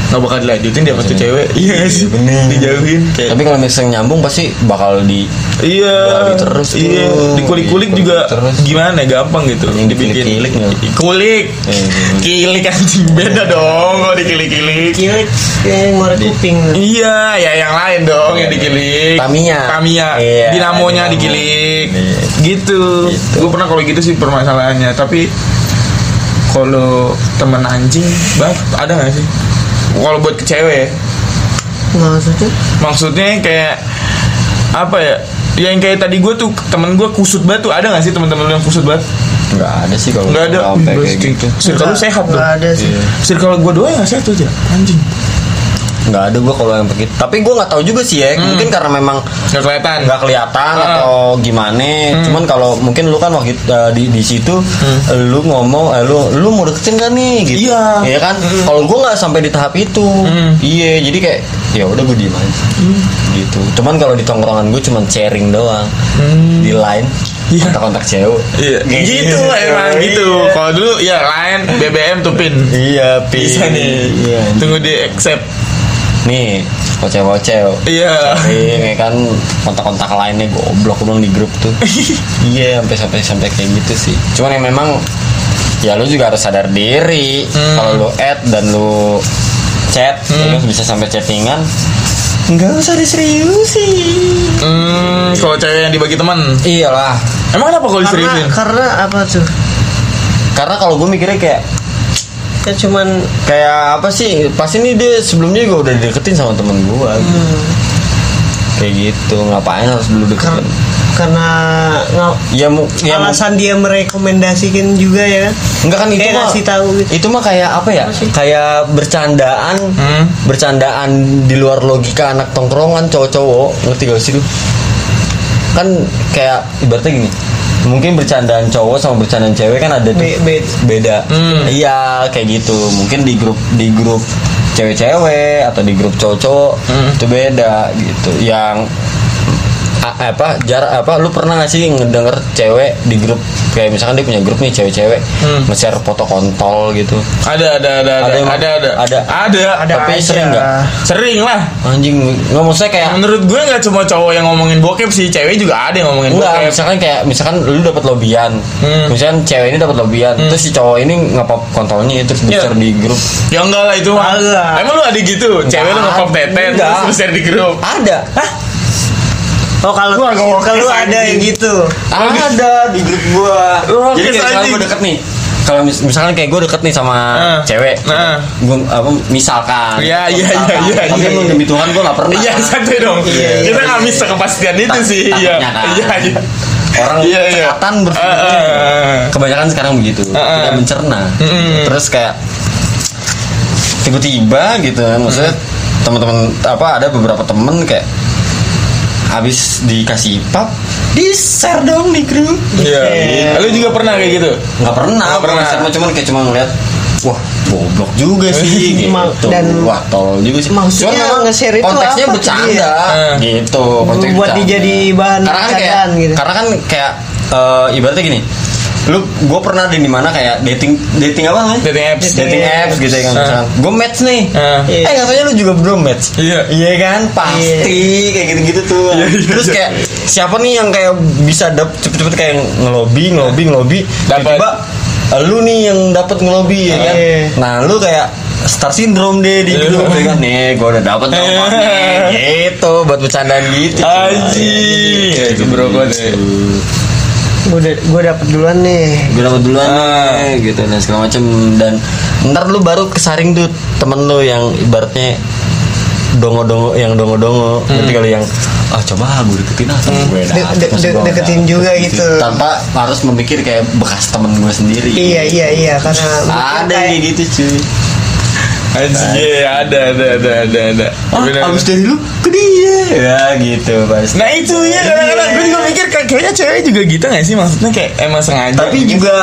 Speaker 1: nggak bakal dilanjutin dia sama tuh cewek iya nggak sih
Speaker 3: bener.
Speaker 1: dijauhin kayak
Speaker 3: Tapi kalau misalnya nyambung pasti bakal di
Speaker 1: iya
Speaker 3: Bali terus tuh.
Speaker 1: iya dikulik-kulik
Speaker 3: Dikulik
Speaker 1: juga
Speaker 3: terus.
Speaker 1: gimana gampang gitu
Speaker 3: Ini
Speaker 1: dibikin Iya.
Speaker 3: kilik-kilik nggak?
Speaker 1: kulik
Speaker 3: Eh,
Speaker 1: kilik anjing beda dong kalau dikilik-kilik
Speaker 2: Cilik yang Iya, ngorek kuping.
Speaker 1: Iya, ya yang lain dong yang dikilik.
Speaker 3: Tamiya.
Speaker 1: Tamiya.
Speaker 3: Iya,
Speaker 1: Dinamonya
Speaker 3: dinamo.
Speaker 1: dikilik.
Speaker 3: Iya.
Speaker 1: Gitu. Gue pernah kalau gitu sih permasalahannya, tapi kalau temen anjing, bah, ada nggak sih? Kalau buat ke cewek,
Speaker 2: Maksudnya?
Speaker 1: maksudnya kayak apa ya? Yang kayak tadi gue tuh temen gue kusut batu ada nggak sih temen-temen lu yang kusut banget?
Speaker 3: nggak ada sih kalau
Speaker 1: Nggak ada.
Speaker 3: sampai kayak
Speaker 1: Berarti
Speaker 3: gitu.
Speaker 1: Circle lu
Speaker 2: Nggak-
Speaker 1: sehat dong.
Speaker 2: nggak ada sih.
Speaker 3: Iya.
Speaker 1: Circle gue doang nggak sehat tuh aja. Anjing.
Speaker 3: Nggak ada gue kalau yang begitu. Tapi gue nggak tahu juga sih ya.
Speaker 1: Hmm.
Speaker 3: Mungkin karena memang
Speaker 1: Nggak kelihatan.
Speaker 3: nggak kelihatan
Speaker 1: Ah. Hmm.
Speaker 3: atau gimana. Cuman kalau mungkin lu kan waktu itu, eh, di di situ lu ngomong eh, lu lu mau deketin gak nih gitu.
Speaker 1: Hmm. Iya.
Speaker 3: kan? Kalau gue nggak sampai di tahap itu.
Speaker 1: Mm.
Speaker 3: Iya, jadi kayak ya udah gue diem aja.
Speaker 1: Hmm.
Speaker 3: Gitu. Cuman kalau di tongkrongan gue cuman sharing doang. Di line
Speaker 1: Hmm. Iya.
Speaker 3: kontak-kontak cewek.
Speaker 1: Iya.
Speaker 3: Kayak
Speaker 1: Gitu emang
Speaker 3: Iya.
Speaker 1: gitu. Kalau dulu ya lain BBM tuh pin.
Speaker 3: Iya, Pi.
Speaker 1: Bisa nih.
Speaker 3: Iya.
Speaker 1: Tunggu di accept.
Speaker 3: Nih, kocel-kocel.
Speaker 1: Iya.
Speaker 3: Iya kan kontak-kontak lainnya goblok belum di grup tuh. Iya sampai sampai sampai kayak gitu sih. Cuman yang memang ya lu juga harus sadar diri kalau lu add dan lu chat ya lu bisa sampai chattingan
Speaker 2: Iya.
Speaker 3: nggak usah diseriusin
Speaker 1: Hmm, kalau cewek yang dibagi teman.
Speaker 3: iyalah
Speaker 1: Emang kenapa kalau
Speaker 2: Karena
Speaker 3: ya?
Speaker 1: diseriusin?
Speaker 2: karena apa tuh?
Speaker 3: karena kalau gue mikirnya kayak
Speaker 2: Ya cuman
Speaker 3: kayak apa sih pasti nih dia sebelumnya juga udah dideketin sama temen gue kayak gitu ngapain harus dulu
Speaker 2: kar-
Speaker 3: deketin
Speaker 2: karena nggak-
Speaker 3: ya, mu, ya mu-
Speaker 2: alasan dia merekomendasikan juga ya kan?
Speaker 3: Enggak kan itu
Speaker 2: Kayak
Speaker 3: mah
Speaker 2: ngasih tahu gitu.
Speaker 3: Itu mah kayak apa ya? Kayak bercandaan,
Speaker 1: Hmm.
Speaker 3: bercandaan di luar logika anak tongkrongan cowok-cowok. Ngerti gak sih lu? Kan kayak ibaratnya gini. Mungkin bercandaan cowok sama bercandaan cewek kan ada tuh
Speaker 2: Be- be-
Speaker 3: beda.
Speaker 1: Hmm.
Speaker 3: Iya, kayak gitu. Mungkin di grup di grup cewek-cewek atau di grup cowok-cowok
Speaker 1: Hmm.
Speaker 3: itu beda gitu. Yang a- apa jarak apa lu pernah gak sih ngedenger cewek di grup kayak misalkan dia punya grup nih cewek-cewek
Speaker 1: Hmm.
Speaker 3: nge-share foto kontol gitu.
Speaker 1: Ada ada ada ada
Speaker 3: Ada yang-
Speaker 1: ada ada
Speaker 3: ada.
Speaker 1: ada.
Speaker 2: Ada
Speaker 3: Tapi
Speaker 2: aja.
Speaker 3: sering nggak?
Speaker 1: Sering lah.
Speaker 3: Anjing, nggak maksudnya kayak
Speaker 1: Menurut gue nggak cuma cowok yang ngomongin bokep sih, cewek juga ada yang ngomongin
Speaker 3: Enggak,
Speaker 1: bokep.
Speaker 3: misalkan kayak misalkan lu dapat lobian.
Speaker 1: Hmm.
Speaker 3: Misalkan cewek ini dapat lobian, terus si cowok ini ngepop kontolnya itu
Speaker 1: Iya.
Speaker 3: share di grup.
Speaker 1: Ya enggak lah itu mah.
Speaker 2: Enggak.
Speaker 1: Emang lu ada gitu? Cewek lu
Speaker 3: Enggak.
Speaker 1: ngepop tete
Speaker 3: Enggak.
Speaker 1: terus lu share di grup.
Speaker 3: Ada.
Speaker 2: Oh kalau
Speaker 1: Gua nggak mau
Speaker 2: kalau
Speaker 1: kesana.
Speaker 2: ada yang gitu.
Speaker 3: ada Ah, di grup gua
Speaker 1: Lu kes
Speaker 3: jadi kayak misalkan
Speaker 1: anjing.
Speaker 3: gua deket nih kalau mis- misalkan kayak gue deket nih sama
Speaker 1: Ah.
Speaker 3: cewek
Speaker 1: Ah.
Speaker 3: gua apa misalkan
Speaker 1: Iya, iya,
Speaker 3: Misalkan.
Speaker 1: iya, iya,
Speaker 3: tapi
Speaker 1: iya.
Speaker 3: emang demi Tuhan gue gak pernah
Speaker 1: Iya santai dong.
Speaker 3: Iya, iya,
Speaker 1: Kita
Speaker 3: iya.
Speaker 1: nggak bisa kepastian itu
Speaker 3: Tak-
Speaker 1: sih. Iya
Speaker 3: takutnya kan.
Speaker 1: iya iya.
Speaker 3: orang
Speaker 1: Iya, iya.
Speaker 3: cekatan berpikir gitu.
Speaker 1: Eh, eh, eh, eh.
Speaker 3: kebanyakan sekarang begitu
Speaker 1: eh.
Speaker 3: tidak mencerna
Speaker 1: Mm-mm.
Speaker 3: terus kayak tiba-tiba gitu kan maksudnya teman-teman apa ada beberapa temen kayak habis dikasih pap di share dong di grup Gitu.
Speaker 1: Iya. Lu juga pernah kayak gitu?
Speaker 3: nggak pernah
Speaker 1: Nggak pernah.
Speaker 3: pernah cuman kayak cuma ngeliat wah goblok juga sih
Speaker 2: Emang,
Speaker 3: gitu
Speaker 2: dan
Speaker 3: wah tolol juga sih
Speaker 2: maksudnya
Speaker 3: memang
Speaker 2: nge-share itu
Speaker 3: konteksnya
Speaker 2: apa ya?
Speaker 3: bercanda
Speaker 1: Eh.
Speaker 3: gitu konteksnya
Speaker 2: Buat
Speaker 3: bercanda.
Speaker 2: dijadi bahan
Speaker 3: karena kan kayak
Speaker 2: bercandaan gitu.
Speaker 3: karena kan kayak eh, ibaratnya gini lu gue pernah ada di mana kayak dating dating apa namanya
Speaker 1: Dating apps.
Speaker 3: dating apps gitu ya kan
Speaker 1: Eh.
Speaker 3: gue match nih
Speaker 1: Eh.
Speaker 3: eh katanya lu juga belum match
Speaker 1: Iya.
Speaker 3: Iya kan pasti kayak gitu-gitu tuh.
Speaker 1: Iya, iya,
Speaker 3: Terus
Speaker 1: iya.
Speaker 3: kayak siapa nih yang kayak bisa dap cepet-cepet kayak ngelobi ngelobi ngelobi
Speaker 1: Dapat.
Speaker 3: tiba-tiba eh, lu nih yang dapat ngelobi ya kan.
Speaker 2: Iya.
Speaker 3: Nah lu kayak star syndrome deh di
Speaker 1: Iya.
Speaker 3: grup ya kan. Nih gua udah dapat nomor nih. gitu buat bercandaan gitu.
Speaker 1: Anjing. Ya, itu bro gue deh.
Speaker 2: Gue gue dapet duluan nih.
Speaker 3: Gue dapat duluan
Speaker 1: Ah.
Speaker 3: nih, gitu dan segala macem dan ntar lu baru kesaring tuh temen lu yang ibaratnya dongo-dongo yang dongo-dongo nanti kali yang ah coba ah, gue deketin ah temen gue
Speaker 2: De-
Speaker 3: dapet,
Speaker 2: de-
Speaker 3: masa
Speaker 2: de-
Speaker 3: gue gak
Speaker 2: deketin
Speaker 3: dapet?"
Speaker 2: juga gitu.
Speaker 3: tanpa harus memikir kayak bekas temen gue sendiri
Speaker 2: Iya iya iya karena mungkin
Speaker 3: ada
Speaker 2: kayak-
Speaker 3: kayak gitu cuy
Speaker 1: Anjing ya, ada ada ada ada ada.
Speaker 3: ah
Speaker 1: Bener.
Speaker 3: abis dari lu ke dia ya gitu pasti
Speaker 1: Nah itu ya kadang-kadang gue juga mikir kayak- kayaknya cewek juga gitu gak sih maksudnya kayak emang sengaja. gitu.
Speaker 3: tapi juga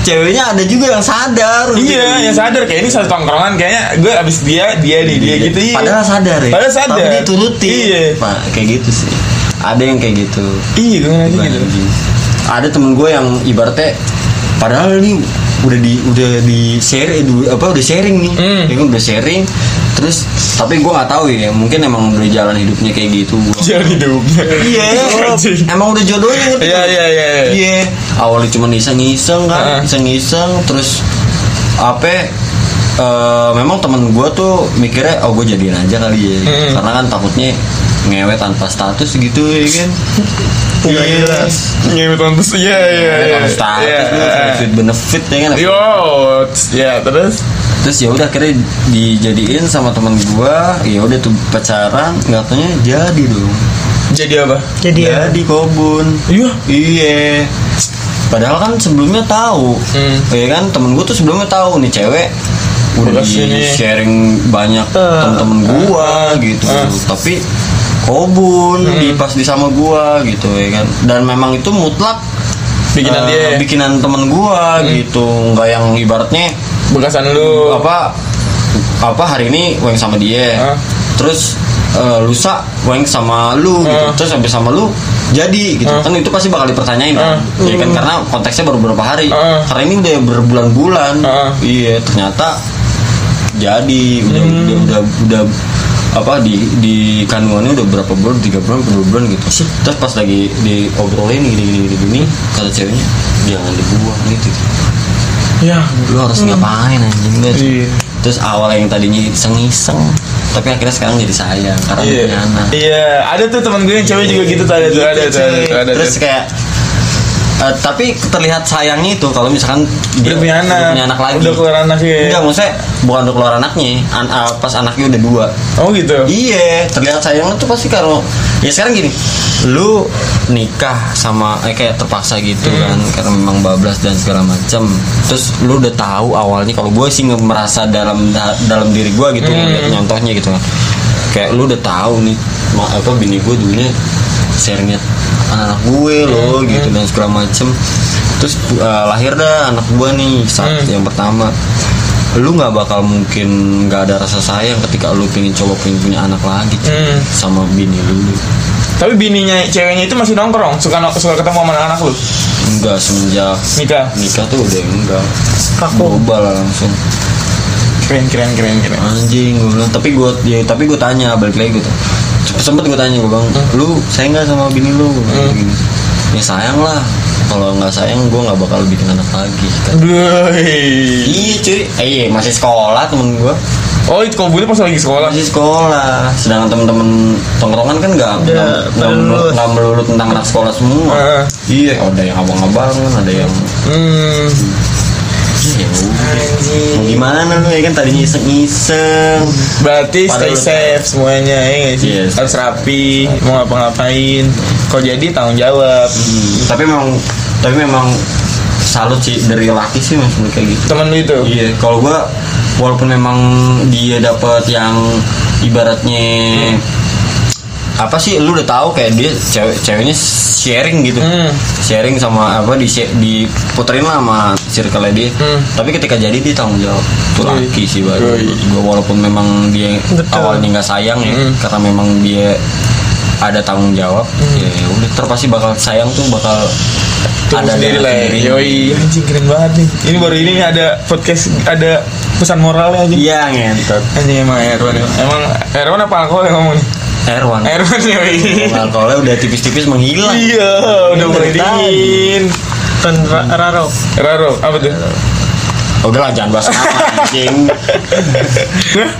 Speaker 3: ceweknya ada juga yang sadar gitu.
Speaker 1: iya yang sadar kayak ini satu tongkrongan kayaknya gue abis dia dia nih dia gitu. Iya.
Speaker 3: Padahal sadar ya.
Speaker 1: Padahal sadar.
Speaker 3: Tapi dituruti.
Speaker 1: Iya.
Speaker 3: Pak, kayak gitu sih. Ada yang kayak gitu.
Speaker 1: Iya gue ngerasa gitu.
Speaker 3: Ada temen gue yang ibaratnya padahal ini udah di udah di share eh, du- apa udah sharing nih
Speaker 1: Hmm.
Speaker 3: ya kan udah sharing terus tapi gue nggak tahu ya mungkin emang udah jalan hidupnya kayak gitu gua.
Speaker 1: Jalan hidupnya.
Speaker 3: Iya,
Speaker 1: Anjing.
Speaker 3: emang udah jodohnya ngerti
Speaker 1: Iya,
Speaker 3: nggak?
Speaker 1: iya, iya, iya.
Speaker 3: Iya, awalnya cuma iseng-iseng
Speaker 1: Heeh.
Speaker 3: kan, iseng-iseng terus apa eh, memang temen gue tuh mikirnya oh gue jadiin aja kali ya
Speaker 1: Mm-mm.
Speaker 3: karena kan takutnya ngewet tanpa status gitu ya kan
Speaker 2: Nggak jelas.
Speaker 1: Ngewet tanpa iya iya
Speaker 3: Ngewet
Speaker 1: iya.
Speaker 3: tanpa status tuh, benefit benefit ya kan
Speaker 1: Yo, ya terus
Speaker 3: terus ya udah akhirnya dijadiin sama temen gue ya udah tuh pacaran nggak taunya jadi dong
Speaker 1: jadi apa?
Speaker 2: Jadi ya.
Speaker 3: jadi kobun
Speaker 1: Iya.
Speaker 3: Iya. Padahal kan sebelumnya tahu.
Speaker 1: Hmm.
Speaker 3: Iya kan temen gue tuh sebelumnya tahu nih cewek udah
Speaker 1: Udah
Speaker 3: di
Speaker 1: sini.
Speaker 3: sharing banyak temen-temen gua gitu.
Speaker 1: Ah. Hmm.
Speaker 3: Tapi kobun di pas di sama gua gitu ya kan. Dan memang itu mutlak
Speaker 1: Bikinan
Speaker 3: eh,
Speaker 1: dia. ya? Hmm.
Speaker 3: bikinan temen gua gitu. Nggak yang ibaratnya
Speaker 1: Bekasan lu.
Speaker 3: apa apa hari ini weng sama dia
Speaker 1: Hah?
Speaker 3: terus eh, lusa weng sama lu gitu
Speaker 1: Hah?
Speaker 3: terus habis sama lu jadi gitu
Speaker 1: Hah? Hmm.
Speaker 3: kan itu pasti bakal dipertanyain kan Iya kan karena konteksnya baru beberapa hari
Speaker 1: Hah?
Speaker 3: karena ini udah berbulan-bulan
Speaker 1: Hah?
Speaker 3: iya ternyata jadi udah
Speaker 1: Hmm.
Speaker 3: udah, udah udah apa di di kandungannya udah berapa bulan tiga bulan dua bulan gitu terus pas lagi diobrolin gini gini gini, gini kata ceweknya jangan dibuang gitu
Speaker 1: Ya.
Speaker 3: lu harus ngapain anjing lu
Speaker 1: Iya.
Speaker 3: terus awal yang tadinya iseng-iseng tapi akhirnya sekarang jadi sayang karena
Speaker 1: Iya.
Speaker 3: punya anak
Speaker 1: Iya, ada tuh teman gue yang cewek juga gitu tuh ada tuh ada tuh ada tuh ada
Speaker 3: terus
Speaker 1: tuh.
Speaker 3: kayak eh, tapi terlihat sayangnya itu kalau misalkan
Speaker 1: Udah punya anak.
Speaker 3: udah punya anak lagi
Speaker 1: Udah keluar anak ya.
Speaker 3: enggak maksudnya bukan udah keluar anaknya an- ah, pas anaknya udah dua
Speaker 1: Oh gitu.
Speaker 3: Iya, terlihat sayang tuh pasti kalau ya sekarang gini, lu nikah sama eh, kayak terpaksa gitu kan karena memang bablas dan segala macam. Terus lu udah tahu awalnya kalau gue sih nge- merasa dalam da- dalam diri gue gitu ngeliat nyontohnya gitu kan. Kayak lu udah tahu nih ma- apa bini gue dulunya sharingnya anak gue loh gitu dan segala macem terus eh, lahir dah anak gue nih saat yang pertama lu nggak bakal mungkin nggak ada rasa sayang ketika lu pengen coba pengen punya anak lagi cuy.
Speaker 1: Hmm.
Speaker 3: sama bini lu
Speaker 1: Tapi bininya ceweknya itu masih nongkrong, suka no- suka ketemu sama anak-anak lu.
Speaker 3: enggak semenjak
Speaker 1: Nikah.
Speaker 3: nikah tuh udah enggak
Speaker 2: Kaku.
Speaker 3: berubah lah langsung
Speaker 1: Keren keren keren keren.
Speaker 3: anjing gue bilang tapi gue ya, tapi gue tanya balik lagi gue tanya. Sempet- sempet gue tanya gue bang lu sayang nggak sama bini lu Gua bilang gini. ya sayang lah kalau nggak sayang gue nggak bakal bikin anak lagi Kata-
Speaker 1: Hmm. Bleh.
Speaker 3: iya cuy Eh, iya masih sekolah temen gue
Speaker 1: Oh, itu kobunnya pas lagi sekolah.
Speaker 3: masih sekolah sedangkan temen-temen tongkrongan kan nggak
Speaker 2: Udah,
Speaker 3: nggak- nggak
Speaker 2: pada
Speaker 3: melulu,
Speaker 2: lulus.
Speaker 3: nggak melulu tentang anak sekolah semua
Speaker 1: Heeh.
Speaker 3: iya ada yang abang-abangan ada yang
Speaker 1: Hmm.
Speaker 3: ya udah. Mau gimana lu ya kan tadinya iseng-iseng
Speaker 1: Berarti stay
Speaker 3: Padahal lu-
Speaker 1: safe semuanya ya nggak sih?
Speaker 3: Yes.
Speaker 1: Harus rapi, mau ngapa-ngapain. Kalau jadi tanggung jawab.
Speaker 3: Hmm, tapi memang tapi memang salut sih dari laki sih mas kayak gitu
Speaker 1: Temen lu itu.
Speaker 3: Iya, kalau gua walaupun memang dia dapat yang ibaratnya apa sih lu udah tahu kayak dia cewek ceweknya sharing gitu.
Speaker 1: Hmm.
Speaker 3: Sharing sama apa di diputerin lah sama circle dia.
Speaker 1: Hmm. Iya.
Speaker 3: Tapi ketika jadi dia tanggung jawab. Itu
Speaker 1: Yoi.
Speaker 3: laki sih baru.
Speaker 1: Yoi.
Speaker 3: Gua walaupun memang dia
Speaker 2: Betul.
Speaker 3: awalnya nggak sayang ya
Speaker 1: Hmm.
Speaker 3: karena memang dia ada tanggung jawab ya udah terpasti bakal sayang tuh bakal
Speaker 1: Tunggu sendiri
Speaker 3: dengan
Speaker 1: lah ya.
Speaker 3: sendirinya.
Speaker 1: Yoi Anjing keren banget nih Ini baru ini ada podcast Ada pesan moralnya anjing
Speaker 3: iya ngentot
Speaker 1: Anjing emang Erwan Emang Erwan apa alkohol yang ngomong nih?
Speaker 3: Erwan
Speaker 1: Erwan yoi
Speaker 3: alkoholnya udah tipis-tipis menghilang.
Speaker 1: Eh. Iya Udah
Speaker 3: Ini
Speaker 1: mulai
Speaker 3: dari tadi.
Speaker 1: dingin
Speaker 2: Kan ra- Raro.
Speaker 1: Raro apa tuh?
Speaker 3: Udah lah Ya jangan bahas nama anjing.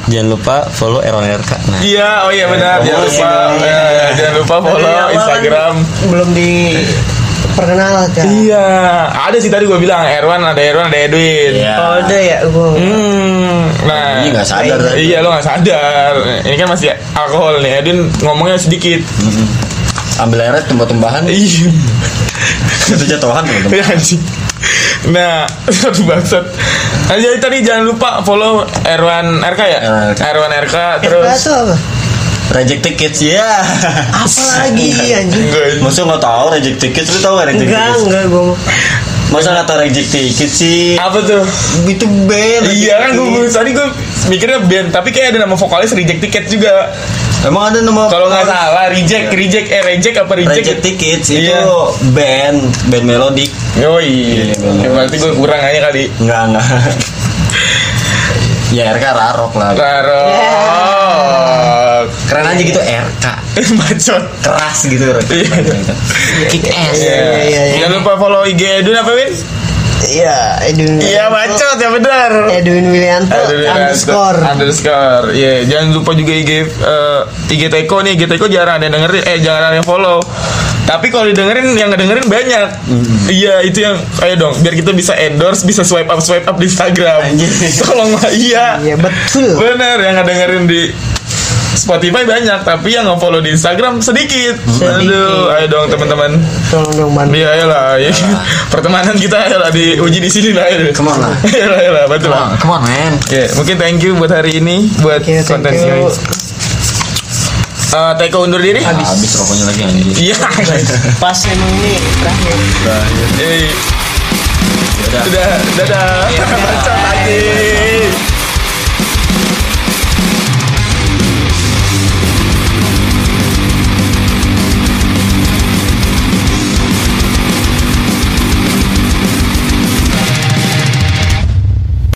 Speaker 3: jangan lupa follow Erwan RK. Nah.
Speaker 1: Iya, oh iya benar. Jangan
Speaker 3: Follow
Speaker 1: lupa,
Speaker 3: Instagram.
Speaker 1: eh, jangan lupa
Speaker 2: Dari
Speaker 1: follow
Speaker 2: awal
Speaker 1: Instagram.
Speaker 2: kan Belum diperkenalkan.
Speaker 1: Iya, ada sih tadi gue bilang Erwan ada Erwan ada Edwin.
Speaker 3: Iya.
Speaker 2: Oh, udah ya gua.
Speaker 1: Hmm, nah
Speaker 3: Ini nggak sadar.
Speaker 1: Iya lo nggak sadar. Ini kan masih alkohol nih. Edwin ngomongnya sedikit.
Speaker 3: Hmm. Ambil airnya tumbah-tumbahan.
Speaker 1: Iya.
Speaker 3: Itu jatuhan teman-teman.
Speaker 1: Ya, anjing. Nah, satu bangsat. Nah, jadi tadi jangan lupa follow Erwan RK ya.
Speaker 3: Erwan RK.
Speaker 1: Erwan RK
Speaker 2: Terus
Speaker 1: terus.
Speaker 2: itu apa?
Speaker 3: Reject tickets ya.
Speaker 2: Apa lagi anjing?
Speaker 3: Iya.
Speaker 1: Enggak.
Speaker 3: Masa nggak tahu reject tickets lu tahu nggak reject
Speaker 2: Enggak,
Speaker 3: tickets?
Speaker 2: enggak gua mau.
Speaker 3: Masa nggak tahu reject tickets sih? Iya, kan
Speaker 1: Apa tuh?
Speaker 3: Itu band. gitu.
Speaker 1: Iya kan gue tadi gue mikirnya band tapi kayak ada nama vokalis reject tiket juga
Speaker 3: Emang ada nama
Speaker 1: kalau nggak salah reject reject eh reject apa reject,
Speaker 3: Reject Tickets itu
Speaker 1: Iya.
Speaker 3: band band melodic
Speaker 1: yoi
Speaker 3: Iya, bener.
Speaker 1: ya, berarti gue kurang aja kali
Speaker 3: Enggak enggak Ya RK Rarok lah
Speaker 1: Raro Oh.
Speaker 3: Keren aja gitu RK
Speaker 1: bacot
Speaker 3: Keras gitu
Speaker 1: Iya.
Speaker 3: Kick ass
Speaker 2: Iya, iya, iya, iya.
Speaker 1: Jangan lupa follow IG Edun apa Win?
Speaker 2: Iya, Edwin.
Speaker 1: Iya
Speaker 2: Widianto.
Speaker 1: bacot ya benar.
Speaker 2: Edwin Willianto underscore.
Speaker 1: Underscore. Iya, jangan lupa juga IG eh, IG Teko nih, IG Teko jarang ada yang dengerin, eh jarang ada yang follow. Tapi kalau didengerin yang ngedengerin banyak. Iya, itu yang ayo dong biar kita bisa endorse, bisa swipe up swipe up di Instagram.
Speaker 3: Anjir.
Speaker 1: Tolong lah, iya.
Speaker 2: Iya betul.
Speaker 1: Bener yang ngedengerin di Spotify banyak, tapi yang nge-follow di Instagram sedikit. Aduh, ayo dong teman-teman.
Speaker 2: Tolong dong bantu.
Speaker 1: Iya, ayolah. Ya. Pertemanan kita ayolah diuji di sini lah. Ayo.
Speaker 3: Come on lah.
Speaker 1: Ayolah, ayolah, betul lah.
Speaker 3: Come on man
Speaker 1: Ya, mungkin thank you buat hari ini buat
Speaker 2: Oke, thank
Speaker 1: konten
Speaker 2: you.
Speaker 1: ini. Eh, Teko undur diri.
Speaker 3: Habis Habis rokoknya lagi anjir
Speaker 1: Iya.
Speaker 2: Pas emang ini terakhir.
Speaker 1: Eh,
Speaker 3: Yaudah.
Speaker 1: iya. Dadah. Dadah. Bacot lagi.